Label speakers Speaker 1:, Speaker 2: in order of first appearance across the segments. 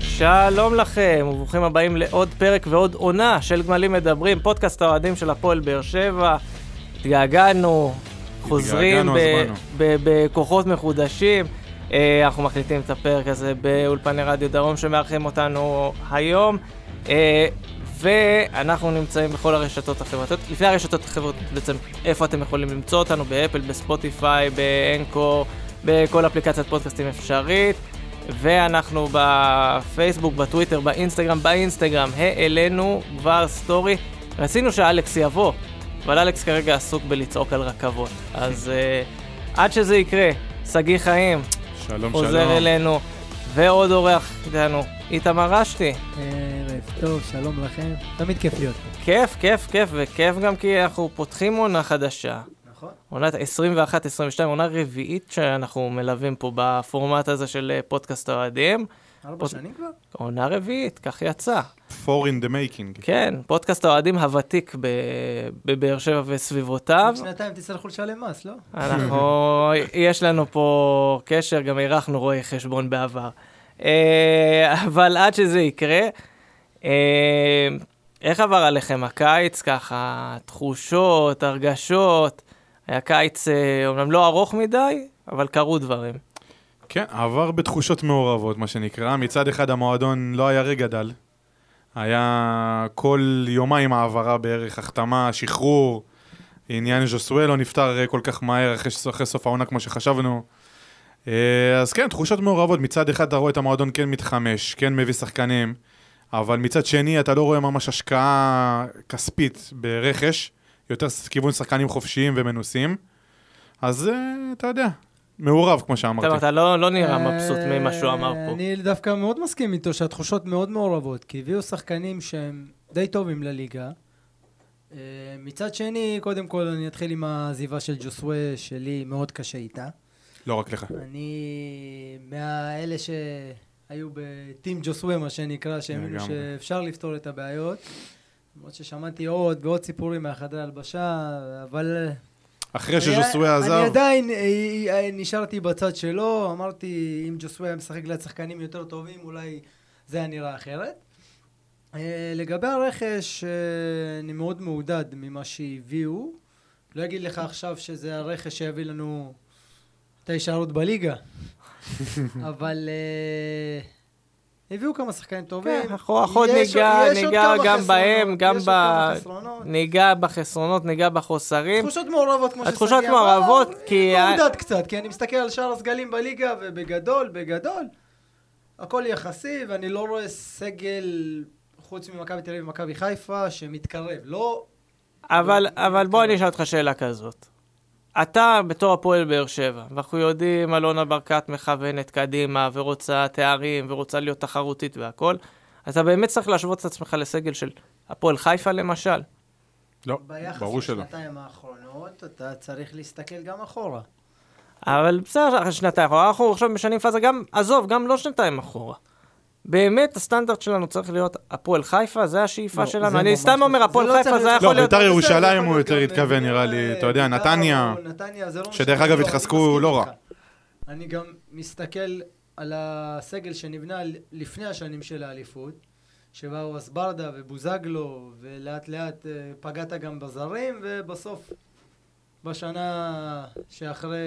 Speaker 1: שלום לכם, וברוכים הבאים לעוד פרק ועוד עונה של גמלים מדברים, פודקאסט האוהדים של הפועל באר שבע. התגעגענו, חוזרים
Speaker 2: התגעגענו, אז
Speaker 1: ב-
Speaker 2: באנו.
Speaker 1: ב- בכוחות מחודשים. אה, אנחנו מקליטים את הפרק הזה באולפני רדיו דרום שמארחים אותנו היום. אה, ואנחנו נמצאים בכל הרשתות החברתיות. לפני הרשתות החברתיות בעצם, איפה אתם יכולים למצוא אותנו? באפל, בספוטיפיי, באנקור, בכל אפליקציית פודקאסטים אפשרית. ואנחנו בפייסבוק, בטוויטר, באינסטגרם, באינסטגרם העלינו כבר סטורי. רצינו שאלכס יבוא, אבל אלכס כרגע עסוק בלצעוק על רכבות. אז אה, עד שזה יקרה, שגיא חיים
Speaker 2: שלום, שלום.
Speaker 1: עוזר אלינו, ועוד אורח איתנו, איתמר רשתי.
Speaker 3: ערב טוב, שלום לכם. תמיד כיף להיות פה.
Speaker 1: כיף, כיף, כיף, וכיף גם כי אנחנו פותחים עונה חדשה.
Speaker 3: נכון.
Speaker 1: עונת 21-22, עונה רביעית שאנחנו מלווים פה בפורמט הזה של אה, פודקאסט האוהדים.
Speaker 3: ארבע
Speaker 1: עוד-
Speaker 3: שנים כבר?
Speaker 1: עונה רביעית, כך יצא.
Speaker 2: Four in the making.
Speaker 1: כן, פודקאסט האוהדים הוותיק ב- בבאר שבע וסביבותיו.
Speaker 3: עוד שנתיים תצטרכו לשלם מס, לא?
Speaker 1: אנחנו, יש לנו פה קשר, גם אירחנו רואי חשבון בעבר. אה, אבל עד שזה יקרה, אה, איך עבר עליכם הקיץ? ככה, תחושות, הרגשות. היה קיץ אה, אומנם לא ארוך מדי, אבל קרו דברים.
Speaker 2: כן, עבר בתחושות מעורבות, מה שנקרא. מצד אחד המועדון לא היה רגע דל. היה כל יומיים העברה בערך, החתמה, שחרור. עניין ז'וסואל לא נפתר אה, כל כך מהר אחרי, ש- אחרי סוף העונה כמו שחשבנו. אה, אז כן, תחושות מעורבות. מצד אחד אתה רואה את המועדון כן מתחמש, כן מביא שחקנים, אבל מצד שני אתה לא רואה ממש השקעה כספית ברכש, יותר ס- כיוון שחקנים חופשיים ומנוסים. אז אה, אתה יודע, מעורב כמו שאמרתי.
Speaker 1: אתה, אתה לא, לא נראה מבסוט ממה שהוא אמר
Speaker 3: אה,
Speaker 1: פה.
Speaker 3: אני דווקא מאוד מסכים איתו שהתחושות מאוד מעורבות, כי הביאו שחקנים שהם די טובים לליגה. אה, מצד שני, קודם כל אני אתחיל עם העזיבה של ג'וסווה, שלי מאוד קשה איתה.
Speaker 2: לא רק לך.
Speaker 3: אני מהאלה שהיו בטים ג'וסווה, מה שנקרא, שהאמינו
Speaker 2: לגמרי.
Speaker 3: שאפשר לפתור את הבעיות. למרות ששמעתי עוד ועוד סיפורים מהחדרי הלבשה, אבל...
Speaker 2: אחרי
Speaker 3: היה-
Speaker 2: שז'וסווה
Speaker 3: אני
Speaker 2: עזב,
Speaker 3: עדיין אה, אה, נשארתי בצד שלו, אמרתי, אם ג'וסווה היה משחק ליד שחקנים יותר טובים, אולי זה היה נראה אחרת. אה, לגבי הרכש, אה, אני מאוד מעודד ממה שהביאו. לא אגיד לך עכשיו שזה הרכש שיביא לנו את ההישארות בליגה, אבל אה, הביאו כמה שחקנים טובים.
Speaker 1: כן, אנחנו אחות
Speaker 3: יש-
Speaker 1: ניגע,
Speaker 3: יש עוד
Speaker 1: ניגע
Speaker 3: כמה
Speaker 1: גם
Speaker 3: חסרונות,
Speaker 1: בהם, גם
Speaker 3: יש עוד
Speaker 1: ב...
Speaker 3: כמה חסרונות.
Speaker 1: ניגע בחסרונות, ניגע בחוסרים.
Speaker 3: תחושות מעורבות, כמו ששגיא אמר.
Speaker 1: התחושות מעורבות, כי ה-
Speaker 3: אני מעודד קצת, כי אני מסתכל על שאר הסגלים בליגה, ובגדול, בגדול, הכל יחסי, ואני לא רואה סגל, חוץ ממכבי תל אביב ומכבי חיפה, שמתקרב. לא...
Speaker 1: אבל, אבל בוא אני אשאל אותך שאלה כזאת. אתה בתור הפועל באר שבע, ואנחנו יודעים, אלונה ברקת מכוונת קדימה ורוצה תארים ורוצה להיות תחרותית והכל, אתה באמת צריך להשוות את עצמך לסגל של הפועל חיפה למשל.
Speaker 2: לא, ברור
Speaker 3: ביחס
Speaker 2: שלא.
Speaker 3: לשנתיים האחרונות, אתה צריך להסתכל גם אחורה.
Speaker 1: אבל בסדר, אחרי שנתיים אחורה, אנחנו עכשיו משנים פאזה גם, עזוב, גם לא שנתיים אחורה. באמת הסטנדרט שלנו צריך להיות הפועל חיפה, זה השאיפה
Speaker 3: לא,
Speaker 1: שלנו.
Speaker 3: זה
Speaker 1: אני
Speaker 3: ממש
Speaker 1: סתם
Speaker 3: לא.
Speaker 1: אומר,
Speaker 3: זה
Speaker 1: הפועל
Speaker 3: לא
Speaker 1: חיפה
Speaker 3: צריך
Speaker 1: זה
Speaker 3: להיות-
Speaker 1: יכול
Speaker 2: לא,
Speaker 1: להיות...
Speaker 2: בית"ר
Speaker 3: בסדר,
Speaker 2: ירושלים
Speaker 3: יכול
Speaker 2: הוא
Speaker 3: להיות
Speaker 2: יותר
Speaker 3: גם
Speaker 2: התכוון, נראה לי,
Speaker 3: בית"ר
Speaker 2: אתה יודע,
Speaker 3: או-
Speaker 2: נתניה,
Speaker 3: נתניה, זה לא משנה.
Speaker 2: שדרך אגב,
Speaker 3: לא, אני
Speaker 2: התחזקו
Speaker 3: מסכים
Speaker 2: לא
Speaker 3: איתך.
Speaker 2: רע.
Speaker 3: אני גם מסתכל על הסגל שנבנה ל- לפני השנים של האליפות, שבאו אסברדה ובוזגלו, ולאט לאט אה, פגעת גם בזרים, ובסוף, בשנה שאחרי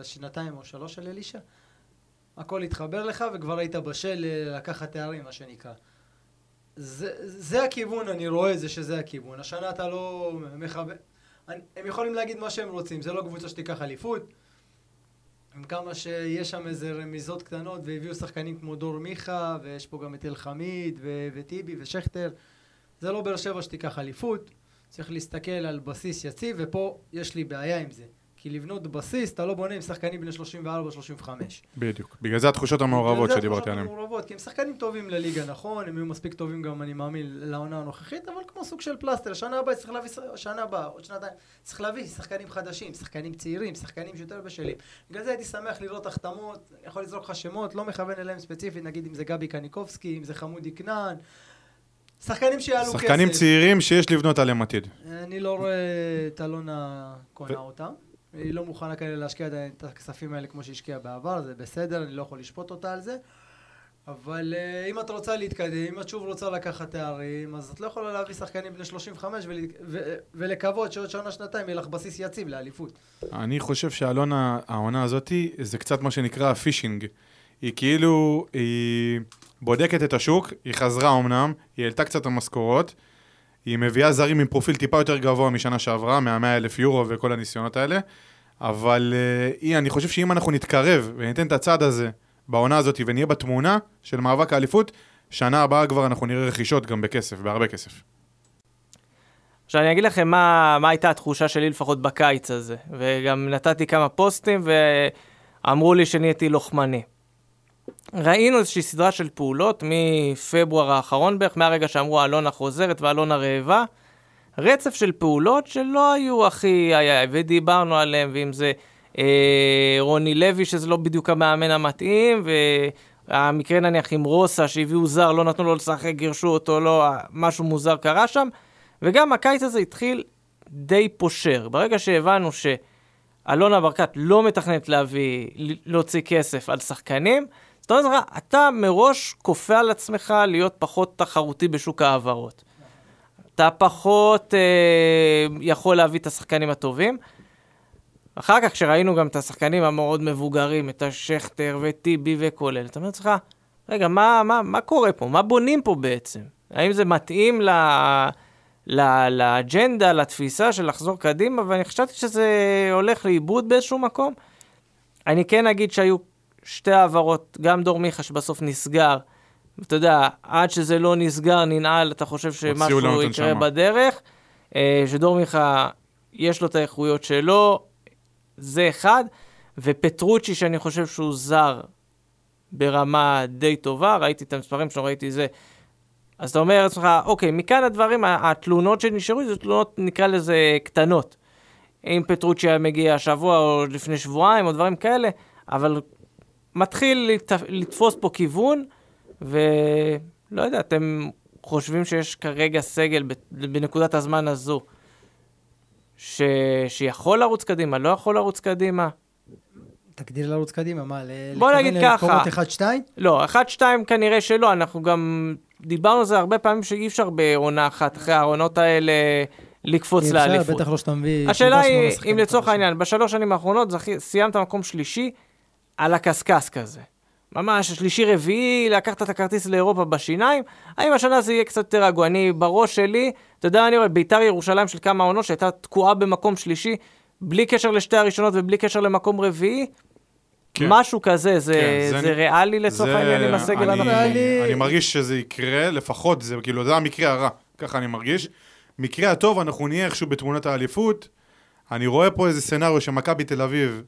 Speaker 3: השנתיים או שלוש של אלישע, הכל התחבר לך וכבר היית בשל אה, לקחת תארים, מה שנקרא. זה, זה הכיוון, אני רואה את זה שזה הכיוון. השנה אתה לא מכבד... אני- הם יכולים להגיד מה שהם רוצים, זה לא קבוצה שתיקח אליפות. עם כמה שיש שם איזה רמיזות קטנות, והביאו שחקנים כמו דור מיכה, ויש פה גם את אלחמיד, ו- וטיבי, ושכטר. זה לא באר שבע שתיקח אליפות, צריך להסתכל על בסיס יציב, ופה יש לי בעיה עם זה. כי לבנות בסיס, אתה לא בונה עם שחקנים בני 34-35.
Speaker 2: בדיוק. בגלל זה התחושות המעורבות
Speaker 3: זה
Speaker 2: שדיברתי
Speaker 3: התחושות
Speaker 2: עליהן.
Speaker 3: המעורבות, כי הם שחקנים טובים לליגה, נכון, הם יהיו מספיק טובים גם, אני מאמין, לעונה הנוכחית, אבל כמו סוג של פלסטר, שנה הבאה צריך להביא, ש- שנה הבאה, עוד שנתיים, צריך להביא שחקנים חדשים, שחקנים צעירים, שחקנים שיותר בשלים. בגלל זה הייתי שמח לראות החתמות, אני יכול לזרוק לך שמות, לא מכוון אליהם ספציפית, נגיד אם זה גבי קניקובסקי, אם זה חמודי כנען, שחקנים שיעלו כסף.
Speaker 2: שחקנים צעירים שיש לבנות עליהם עתיד.
Speaker 3: אני לא רואה את אלונה קונה אותם. היא לא מוכנה כנראה להשקיע עדיין את הכספים האלה כמו שהשקיעה בעבר, זה בסדר, אני לא יכול לשפוט אותה על זה. אבל אה, אם את רוצה להתקדם, אם את שוב רוצה לקחת תארים, אז את לא יכולה להביא שחקנים בני 35 ול, ו, ולקוות שעוד שנה-שנתיים יהיה לך בסיס יציב לאליפות.
Speaker 2: אני חושב שאלונה, העונה הזאתי, זה קצת מה שנקרא הפישינג. היא כאילו, היא בודקת את השוק, היא חזרה אמנם, היא העלתה קצת את המשכורות, היא מביאה זרים עם פרופיל טיפה יותר גבוה משנה שעברה, מה-100 אלף יורו וכל הניסיונות האלה, אבל אה, היא, אני חושב שאם אנחנו נתקרב וניתן את הצעד הזה בעונה הזאת ונהיה בתמונה של מאבק האליפות, שנה הבאה כבר אנחנו נראה רכישות גם בכסף, בהרבה כסף.
Speaker 1: עכשיו אני אגיד לכם מה, מה הייתה התחושה שלי לפחות בקיץ הזה, וגם נתתי כמה פוסטים ואמרו לי שנהייתי לוחמני. ראינו איזושהי סדרה של פעולות מפברואר האחרון בערך, מהרגע שאמרו אלונה חוזרת ואלונה רעבה, רצף של פעולות שלא היו הכי, היה, ודיברנו עליהם, ואם זה אה, רוני לוי, שזה לא בדיוק המאמן המתאים, והמקרה נניח עם רוסה, שהביאו זר, לא נתנו לו לשחק, גירשו אותו, לא, משהו מוזר קרה שם, וגם הקיץ הזה התחיל די פושר. ברגע שהבנו שאלונה ברקת לא מתכננת להביא, להוציא כסף על שחקנים, זאת אומרת, אתה מראש כופה על עצמך להיות פחות תחרותי בשוק ההעברות. אתה פחות אה, יכול להביא את השחקנים הטובים. אחר כך, כשראינו גם את השחקנים המאוד מבוגרים, את השכטר וטיבי וכל אלה, אתה אומר לעצמך, רגע, מה, מה, מה קורה פה? מה בונים פה בעצם? האם זה מתאים ל, ל, לאג'נדה, לתפיסה של לחזור קדימה? ואני חשבתי שזה הולך לאיבוד באיזשהו מקום. אני כן אגיד שהיו שתי העברות, גם דור מיכה שבסוף נסגר. אתה יודע, עד שזה לא נסגר, ננעל, אתה חושב
Speaker 2: לנו
Speaker 1: שמשהו
Speaker 2: את
Speaker 1: יקרה
Speaker 2: הנשמה.
Speaker 1: בדרך. אה, שדור מיכה, יש לו את האיכויות שלו, זה אחד. ופטרוצ'י, שאני חושב שהוא זר ברמה די טובה, ראיתי את המספרים שלו, ראיתי זה. אז אתה אומר לעצמך, אוקיי, מכאן הדברים, ה- התלונות שנשארו, זה תלונות, נקרא לזה, קטנות. אם פטרוצ'י היה מגיע השבוע או לפני שבועיים או דברים כאלה, אבל מתחיל לת- לתפוס פה כיוון, ולא יודע, אתם חושבים שיש כרגע סגל ב- בנקודת הזמן הזו, ש... שיכול לרוץ קדימה, לא יכול לרוץ קדימה?
Speaker 3: תגדיר לרוץ קדימה, מה? ל- אה,
Speaker 1: בוא
Speaker 3: לכוון
Speaker 1: נגיד ככה.
Speaker 3: למקומות 1-2?
Speaker 1: לא, 1-2 כנראה שלא, אנחנו גם דיברנו על זה הרבה פעמים שאי אפשר בעונה אחת, אחרי העונות האלה, לקפוץ
Speaker 3: אי אפשר,
Speaker 1: לאליפות.
Speaker 3: בטח לא שאתה מביא...
Speaker 1: השאלה
Speaker 3: שבעה, שמונה
Speaker 1: היא,
Speaker 3: שחקנים
Speaker 1: אם לצורך
Speaker 3: חדשים.
Speaker 1: העניין, בשלוש שנים האחרונות זכי- סיימת מקום שלישי על הקשקש כזה. ממש, שלישי רביעי, לקחת את הכרטיס לאירופה בשיניים, האם השנה זה יהיה קצת יותר רגוע? אני, בראש שלי, אתה יודע, אני רואה ביתר ירושלים של כמה עונות שהייתה תקועה במקום שלישי, בלי קשר לשתי הראשונות ובלי קשר למקום רביעי,
Speaker 2: כן.
Speaker 1: משהו כזה, זה,
Speaker 2: כן,
Speaker 1: זה,
Speaker 2: זה-
Speaker 1: ריאלי לצורך
Speaker 2: זה-
Speaker 1: העניין עם הסגל
Speaker 2: אני-
Speaker 1: הנוכחי?
Speaker 3: אני-
Speaker 2: אני מרגיש שזה יקרה, לפחות זה, כאילו, זה המקרה הרע, ככה אני מרגיש. מקרה הטוב, אנחנו נהיה איכשהו בתמונת האליפות. אני רואה פה איזה סצנריו שמכבי תל אביב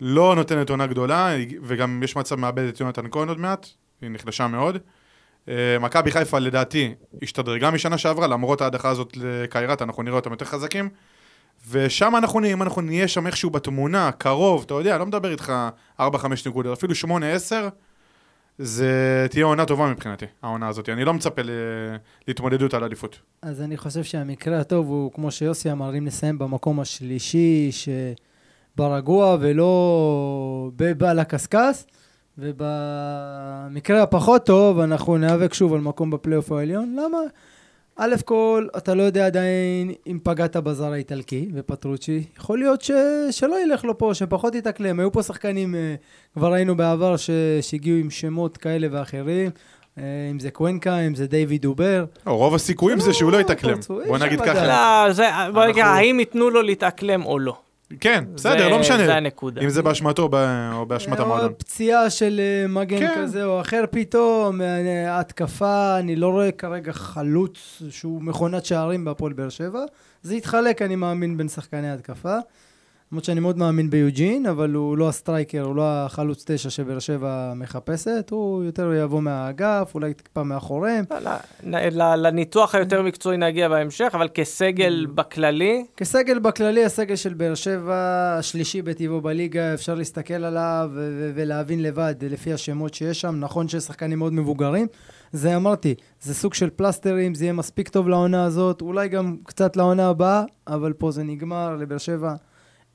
Speaker 2: לא נותנת עונה גדולה, וגם יש מצב מאבדת את יונתן כהן עוד מעט, היא נחלשה מאוד. אה, מכבי חיפה לדעתי השתדרגה משנה שעברה, למרות ההדחה הזאת לקיירת, אנחנו נראה אותם יותר חזקים. ושם אנחנו נהיה, אם אנחנו נהיה שם איכשהו בתמונה, קרוב, אתה יודע, לא מדבר איתך 4-5 נקודות, אפילו 8-10, זה תהיה עונה טובה מבחינתי, העונה הזאת. אני לא מצפה ל... להתמודדות על אליפות.
Speaker 3: אז אני חושב שהמקרה הטוב הוא, כמו שיוסי אמר, אם נסיים במקום השלישי, שברגוע ולא בבעל הקשקש, ובמקרה הפחות טוב, אנחנו ניאבק שוב על מקום בפלייאוף העליון. למה? א' כל, אתה לא יודע עדיין אם פגעת בזר האיטלקי ופטרוצ'י. יכול להיות ש... שלא ילך לו פה, שפחות יתאקלם. היו פה שחקנים, אה, כבר ראינו בעבר, ש... שהגיעו עם שמות כאלה ואחרים, אה, אם זה קוונקה, אם זה דיוויד דובר.
Speaker 2: לא, רוב הסיכויים זה שהוא לא יתאקלם.
Speaker 3: פרצו, אי
Speaker 2: בוא
Speaker 3: אפשר
Speaker 2: נגיד
Speaker 3: לדעת.
Speaker 2: ככה.
Speaker 1: לא, זה, בוא נגיד, האם ייתנו לו להתאקלם או לא?
Speaker 2: כן, בסדר,
Speaker 1: זה-
Speaker 2: לא משנה.
Speaker 1: זה הנקודה.
Speaker 2: אם זה באשמתו או ב- או באשמת המועדון.
Speaker 3: או פציעה של אה, מגן
Speaker 2: כן.
Speaker 3: כזה או אחר פתאום, אה, התקפה, אני לא רואה כרגע חלוץ שהוא מכונת שערים בהפועל באר שבע. זה יתחלק, אני מאמין, בין שחקני התקפה. למרות שאני מאוד מאמין ביוג'ין, אבל הוא לא הסטרייקר, הוא לא החלוץ תשע שבאר שבע מחפשת, הוא יותר יבוא מהאגף, אולי טיפה מאחוריהם.
Speaker 1: לא, ל- ל- לניתוח היותר מקצועי נגיע בהמשך, אבל כסגל בכללי,
Speaker 3: כסגל בכללי, הסגל של באר שבע, השלישי בטבעו בליגה, אפשר להסתכל עליו ו- ו- ולהבין לבד לפי השמות שיש שם. נכון שיש שחקנים מאוד מבוגרים, זה אמרתי, זה סוג של פלסטרים, זה יהיה מספיק טוב לעונה הזאת, אולי גם קצת לעונה הבאה, אבל פה זה נגמר, לבאר שבע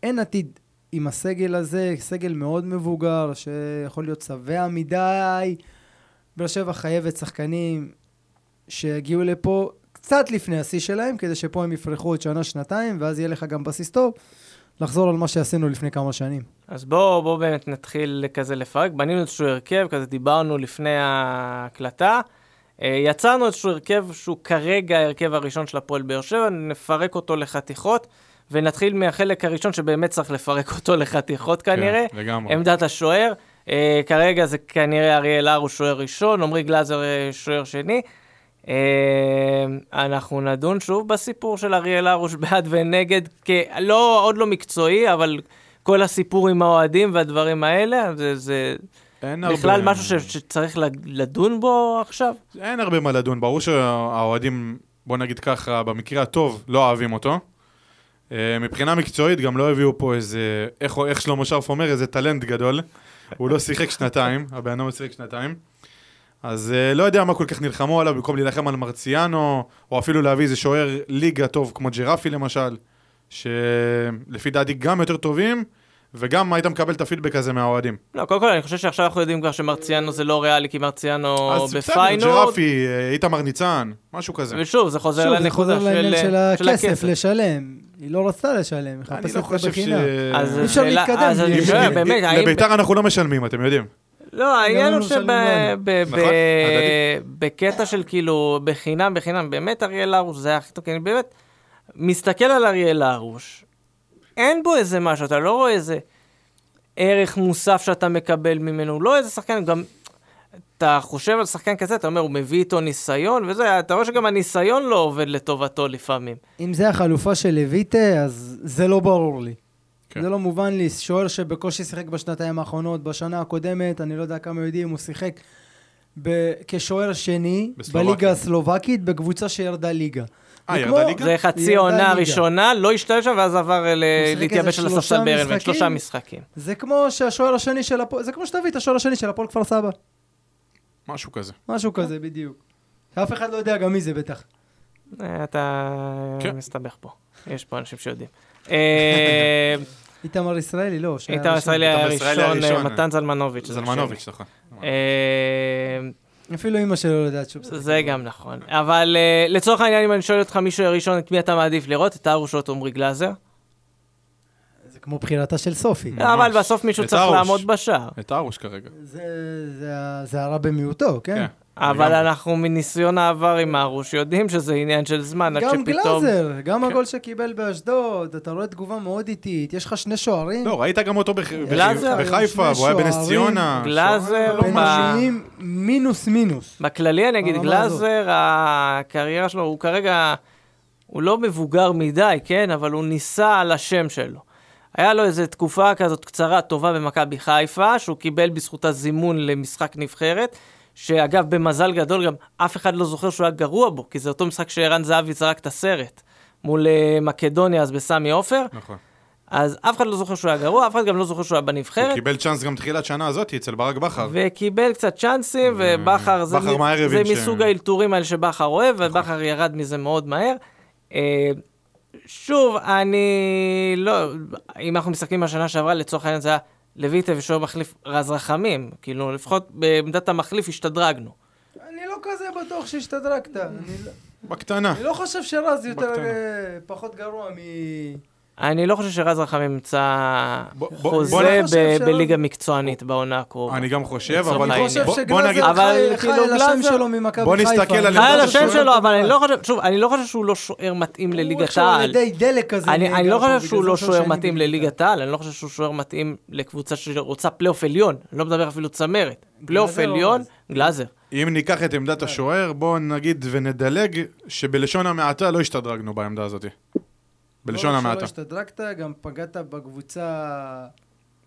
Speaker 3: אין עתיד עם הסגל הזה, סגל מאוד מבוגר, שיכול להיות שבע מדי. באר שבע חייבת שחקנים שיגיעו לפה קצת לפני השיא שלהם, כדי שפה הם יפרחו עוד שנה-שנתיים, ואז יהיה לך גם בסיס טוב לחזור על מה שעשינו לפני כמה שנים.
Speaker 1: אז בואו בוא באמת נתחיל כזה לפרק. בנינו איזשהו הרכב, כזה דיברנו לפני ההקלטה. אה, יצרנו איזשהו הרכב שהוא כרגע ההרכב הראשון של הפועל באר שבע, נפרק אותו לחתיכות, ונתחיל מהחלק הראשון שבאמת צריך לפרק אותו לחתיכות כנראה.
Speaker 2: כן, לגמרי.
Speaker 1: עמדת השוער, אה, כרגע זה כנראה אריאל הר הוא שוער ראשון, עמרי גלאזר אה, שוער שני. אה, אנחנו נדון שוב בסיפור של אריאל הרוש בעד ונגד, כ... לא, עוד לא מקצועי, אבל כל הסיפור עם האוהדים והדברים האלה, זה, זה
Speaker 2: אין הרבה-
Speaker 1: בכלל משהו ש... שצריך לד- לדון בו עכשיו?
Speaker 2: אין הרבה מה לדון, ברור שהאוהדים, בוא נגיד ככה, במקרה הטוב, לא אוהבים אותו. אה, מבחינה מקצועית גם לא הביאו פה איזה, איך, איך שלמה שרף אומר, איזה טלנט גדול. הוא לא שיחק שנתיים, הבן אדם לא שיחק שנתיים. אז אה, לא יודע מה כל כך נלחמו עליו, במקום להילחם על מרציאנו, או אפילו להביא איזה שוער ליגה טוב כמו ג'רפי למשל, שלפי דעתי גם יותר טובים, וגם היית מקבל את הפידבק הזה מהאוהדים.
Speaker 1: לא, קודם כל אני חושב שעכשיו אנחנו יודעים כבר שמרציאנו זה לא ריאלי, כי מרציאנו
Speaker 2: אז בסדר,
Speaker 1: בפיינור.
Speaker 2: ג'רפי, אה, איתמר ניצן, משהו כזה.
Speaker 1: ושוב, זה חוזר
Speaker 3: שוב, זה
Speaker 1: לנקודה אה,
Speaker 3: חוזר לעניין של הכסף, לשלם. היא לא רצתה לשלם, היא
Speaker 2: אה, אני
Speaker 3: מחפשת
Speaker 2: לא
Speaker 3: את זה
Speaker 2: חושב ש...
Speaker 3: בחינם.
Speaker 1: אז
Speaker 3: אי אפשר
Speaker 1: השאלה-
Speaker 3: להתקדם
Speaker 1: אז אני
Speaker 3: בלי-
Speaker 1: שואל,
Speaker 2: אם-
Speaker 1: באמת, האם...
Speaker 2: לביתר אנחנו לא משלמים, אתם יודעים.
Speaker 1: לא, העניין
Speaker 3: לא
Speaker 1: הוא
Speaker 3: משלמים לנו.
Speaker 2: נכון, הדדי.
Speaker 1: שבקטע של כאילו, בחינם, בחינם, באמת אריאל הרוש זה היה הכי טוב, כי אני באמת מסתכל על אריאל הרוש, אין בו איזה משהו, אתה לא רואה איזה ערך מוסף שאתה מקבל ממנו, הוא לא איזה שחקן, גם... אתה חושב על שחקן כזה, אתה אומר, הוא מביא איתו ניסיון וזה, אתה רואה שגם הניסיון לא עובד לטובתו לפעמים.
Speaker 3: אם זה החלופה של לויטה, אז זה לא ברור לי.
Speaker 2: כן.
Speaker 3: כן. זה לא מובן לי, שוער שבקושי שיחק בשנתיים האחרונות, בשנה הקודמת, אני לא יודע כמה יודעים, הוא שיחק ב- כשוער שני,
Speaker 2: בסלובקיה.
Speaker 3: בליגה הסלובקית, בקבוצה שירדה ליגה.
Speaker 2: אה,
Speaker 3: זה
Speaker 2: ירדה
Speaker 3: כמו-
Speaker 2: ליגה?
Speaker 1: זה חצי
Speaker 3: ירדה
Speaker 1: עונה
Speaker 3: ליגה.
Speaker 1: ראשונה, לא השתלב שם, ואז עבר ל-
Speaker 3: איזה
Speaker 1: להתייבש על
Speaker 3: שלושה
Speaker 1: הספסל בארנבנד,
Speaker 3: משחקים?
Speaker 1: שלושה משחקים.
Speaker 3: זה כמו שהשוער השני של הפועל, זה כמו שתביא את השוער השני של הפועל כפר סבא.
Speaker 2: משהו כזה.
Speaker 3: משהו כזה, בדיוק. אף אחד לא יודע גם מי זה בטח.
Speaker 1: אה, אתה
Speaker 2: כן.
Speaker 1: מסתבך פה, יש פה אנשים שיודעים. אה,
Speaker 3: איתמר ישראלי, לא. שהיה
Speaker 1: איתמר
Speaker 3: ראשון.
Speaker 1: ישראלי היה
Speaker 2: איתמר ישראלי היה
Speaker 1: הראשון, אה,
Speaker 2: ראשון.
Speaker 1: מתן זלמנוביץ'. זה
Speaker 2: זלמנוביץ', נכון.
Speaker 1: השני. אה,
Speaker 3: אפילו אימא שלו לא יודעת שהוא משחק.
Speaker 1: זה גם נכון. אבל אה, לצורך העניין, אם אני שואל אותך מישהו ראשון, את מי אתה מעדיף לראות? את ארוש או את עמרי גלאזר?
Speaker 3: זה כמו בחירתה של סופי.
Speaker 2: ממש.
Speaker 1: אבל בסוף מישהו
Speaker 2: את
Speaker 1: צריך
Speaker 2: ארוש.
Speaker 1: לעמוד בשער.
Speaker 2: את ארוש כרגע.
Speaker 3: כן. זה- זה ה- זה הרע במיעוטו, כן?
Speaker 1: אבל
Speaker 2: לגמרי.
Speaker 1: אנחנו מניסיון העבר עם ארוש יודעים שזה עניין של זמן, עד
Speaker 3: גם
Speaker 1: שפתאום...
Speaker 3: גלאזר, גם
Speaker 1: כן.
Speaker 3: הגול שקיבל באשדוד, אתה רואה תגובה מאוד איטית, יש לך שני שוערים.
Speaker 2: לא, ראית גם אותו בח-
Speaker 1: אה, גלאזר,
Speaker 2: בח- בחיפה,
Speaker 3: היו שני
Speaker 2: והוא היה בנס
Speaker 3: שוערים.
Speaker 2: ציונה.
Speaker 1: גלאזר,
Speaker 2: שוער לא
Speaker 1: ב-
Speaker 2: משהו.
Speaker 3: בינוניים מינוס מינוס.
Speaker 1: בכללי אני אגיד,
Speaker 3: ברמה הזאת.
Speaker 1: גלאזר, הקריירה שלו, הוא כרגע, הוא לא מבוגר מדי, כן? אבל הוא ניסה על השם שלו. היה לו איזו תקופה כזאת קצרה, טובה במכבי חיפה, שהוא קיבל בזכותה זימון למשחק נבחרת, שאגב, במזל גדול גם אף אחד לא זוכר שהוא היה גרוע בו, כי זה אותו משחק שערן זהבי זרק את הסרט מול אה, מקדוניה, אז בסמי עופר,
Speaker 2: נכון.
Speaker 1: אז אף אחד לא זוכר שהוא היה גרוע, אף אחד גם לא זוכר שהוא היה
Speaker 2: הוא
Speaker 1: בנבחרת.
Speaker 2: קיבל צ'אנס גם תחילת שנה הזאת אצל ברק בכר.
Speaker 1: וקיבל קצת צ'אנסים, ובכר זה,
Speaker 2: Mm-hmm. בכר
Speaker 1: מ-
Speaker 2: מהר
Speaker 1: זה
Speaker 2: הבין ש- נכון.
Speaker 1: מסוג האלתורים האלה שבכר אוהב, ובכר ירד מזה מאוד מהר. אה, שוב, אני לא... אם אנחנו מסתכלים על השנה שעברה, לצורך העניין זה היה לויטה ושוער מחליף רז רחמים. כאילו, לפחות בעמדת המחליף השתדרגנו.
Speaker 3: אני לא כזה בטוח שהשתדרגת. אני לא-
Speaker 2: בקטנה.
Speaker 3: אני לא חושב שרז יותר
Speaker 2: בקטנה.
Speaker 3: אה, פחות גרוע מ...
Speaker 1: אני לא חושב שרז רחמים ימצא
Speaker 2: בוא- בוא- בוא
Speaker 1: חוזה
Speaker 2: נ-
Speaker 3: אני חושב
Speaker 1: ב-
Speaker 3: שלא.
Speaker 1: בליגה מקצוענית בעונה הקרובה.
Speaker 2: אני גם חושב,
Speaker 1: לצורך
Speaker 2: אבל...
Speaker 1: העניין.
Speaker 2: בוא-
Speaker 3: אני חושב
Speaker 2: בוא- בוא נגיד...
Speaker 3: שגלאזר
Speaker 1: אבל
Speaker 3: חי חי
Speaker 1: כאילו
Speaker 3: על השם
Speaker 1: גלאזר-
Speaker 3: שלו ממכבי
Speaker 2: בוא
Speaker 3: חיפה.
Speaker 2: נסתכל על
Speaker 1: חי על
Speaker 2: עמדת
Speaker 1: השם
Speaker 2: השוער
Speaker 1: שלו, אבל אני לא חושב, שוב, אני לא חושב שהוא לא שוער מתאים
Speaker 3: הוא לא
Speaker 1: לליגת
Speaker 3: איכשהו על
Speaker 1: העל.
Speaker 3: ידי דלק כזה.
Speaker 1: אני,
Speaker 3: נהגר
Speaker 1: אני לא
Speaker 3: פה,
Speaker 1: חושב
Speaker 3: בגלל
Speaker 1: שהוא
Speaker 3: זה
Speaker 1: לא
Speaker 3: אני חושב
Speaker 1: שוער
Speaker 3: שאני
Speaker 1: מתאים
Speaker 3: בליגת
Speaker 1: לליגת העל, אני לא חושב שהוא שוער מתאים לקבוצה שרוצה פלייאוף עליון. אני לא מדבר אפילו צמרת. פלייאוף
Speaker 3: גלאזר או
Speaker 1: עליון,
Speaker 3: רז?
Speaker 1: גלאזר.
Speaker 2: אם ניקח את
Speaker 3: אה.
Speaker 2: עמדת השוער, בואו נגיד ונדלג שבלשון המעטה לא השתדרגנו בעמדה הזאת. בלשון
Speaker 3: לא רק שלא
Speaker 2: המעטה.
Speaker 3: השתדרגת, גם פגעת בקבוצה...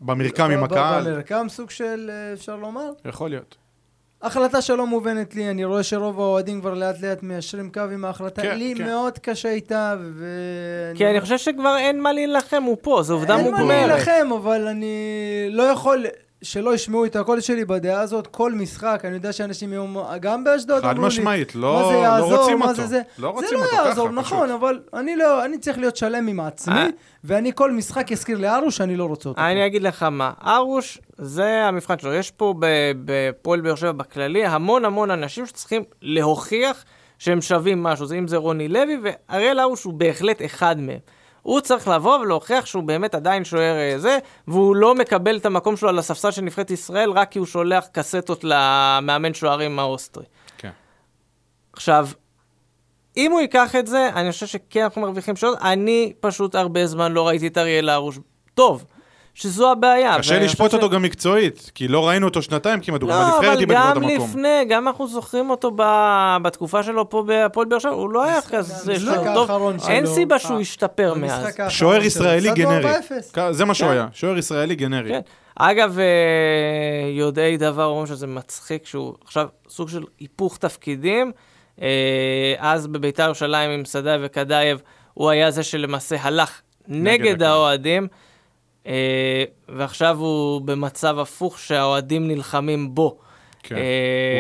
Speaker 2: במרקם עם
Speaker 3: לא, ב- ב-
Speaker 2: הקהל.
Speaker 3: במרקם סוג של, אה, אפשר לומר.
Speaker 2: יכול להיות.
Speaker 3: החלטה שלא מובנת לי, אני רואה שרוב האוהדים כבר לאט לאט מיישרים קו עם ההחלטה.
Speaker 2: כן,
Speaker 3: לי
Speaker 2: כן.
Speaker 3: מאוד קשה איתה, ו...
Speaker 1: כי אני חושב שכבר אין מה להילחם, הוא פה, זו עובדה
Speaker 3: לא- אין מה
Speaker 1: מוגמרת.
Speaker 3: להילחם, אבל אני לא יכול שלא ישמעו את הקול שלי בדעה הזאת, כל משחק, אני יודע שאנשים יום, גם באשדוד
Speaker 2: חד
Speaker 3: אמרו לי,
Speaker 2: משמעית, לא,
Speaker 3: מה זה
Speaker 2: לא
Speaker 3: יעזור,
Speaker 2: רוצים
Speaker 3: מה
Speaker 2: אותו.
Speaker 3: זה זה,
Speaker 2: לא רוצים
Speaker 3: זה
Speaker 2: אותו
Speaker 3: לא יעזור,
Speaker 2: ככה,
Speaker 3: נכון,
Speaker 2: פשוט.
Speaker 3: אבל אני לא, אני צריך להיות שלם עם
Speaker 1: אה.
Speaker 3: עצמי, ואני כל משחק אזכיר לארוש שאני לא רוצה אותו.
Speaker 1: אני אגיד לך מה, ארוש זה המבחן שלו. יש פה ב- בפועל באר שבע בכללי המון המון אנשים שצריכים להוכיח שהם שווים משהו. זה אם זה רוני לוי, ואריאל הרוש הוא בהחלט אחד מהם. הוא צריך לבוא ולהוכיח שהוא באמת עדיין שוער אה, זה, והוא לא מקבל את המקום שלו על הספסל של נבחרת ישראל רק כי הוא שולח קסטות למאמן שוערים האוסטרי.
Speaker 2: כן.
Speaker 1: עכשיו, אם הוא ייקח את זה, אני חושב שכן אנחנו מרוויחים שעות. אני פשוט הרבה זמן לא ראיתי את אריאל הרוש טוב, שזו הבעיה.
Speaker 2: קשה
Speaker 1: ואני
Speaker 2: לשפוט
Speaker 1: חושב
Speaker 2: אותו גם מקצועית, כי לא ראינו אותו שנתיים כמעט, הוא גם
Speaker 1: לא,
Speaker 2: בנבחרת
Speaker 1: אבל
Speaker 2: איבד כבר את
Speaker 1: גם
Speaker 2: המקום.
Speaker 1: לפני, גם אנחנו זוכרים אותו ב- בתקופה שלו פה בהפועל באר שבע, הוא לא היה כזה
Speaker 3: המשחק
Speaker 1: שוער טוב,
Speaker 3: האחרון
Speaker 1: אין
Speaker 3: שלו.
Speaker 1: סיבה שהוא
Speaker 3: אה,
Speaker 1: השתפר מאז.
Speaker 3: לא,
Speaker 2: שוער ישראלי גנרי. כ- זה מה שהוא
Speaker 1: כן.
Speaker 2: היה, שוער ישראלי גנרי.
Speaker 1: כן. אגב, אה, יודעי דבר אומרים שזה מצחיק שהוא עכשיו סוג של היפוך תפקידים. אה, אז בביתר ירושלים עם סדאי וקדאייב, הוא היה זה שלמעשה הלך
Speaker 2: נגד
Speaker 1: נגד
Speaker 2: הקהל.
Speaker 1: האוהדים, אה, ועכשיו הוא במצב הפוך שהאוהדים נלחמים בו.
Speaker 2: כן.
Speaker 1: אה,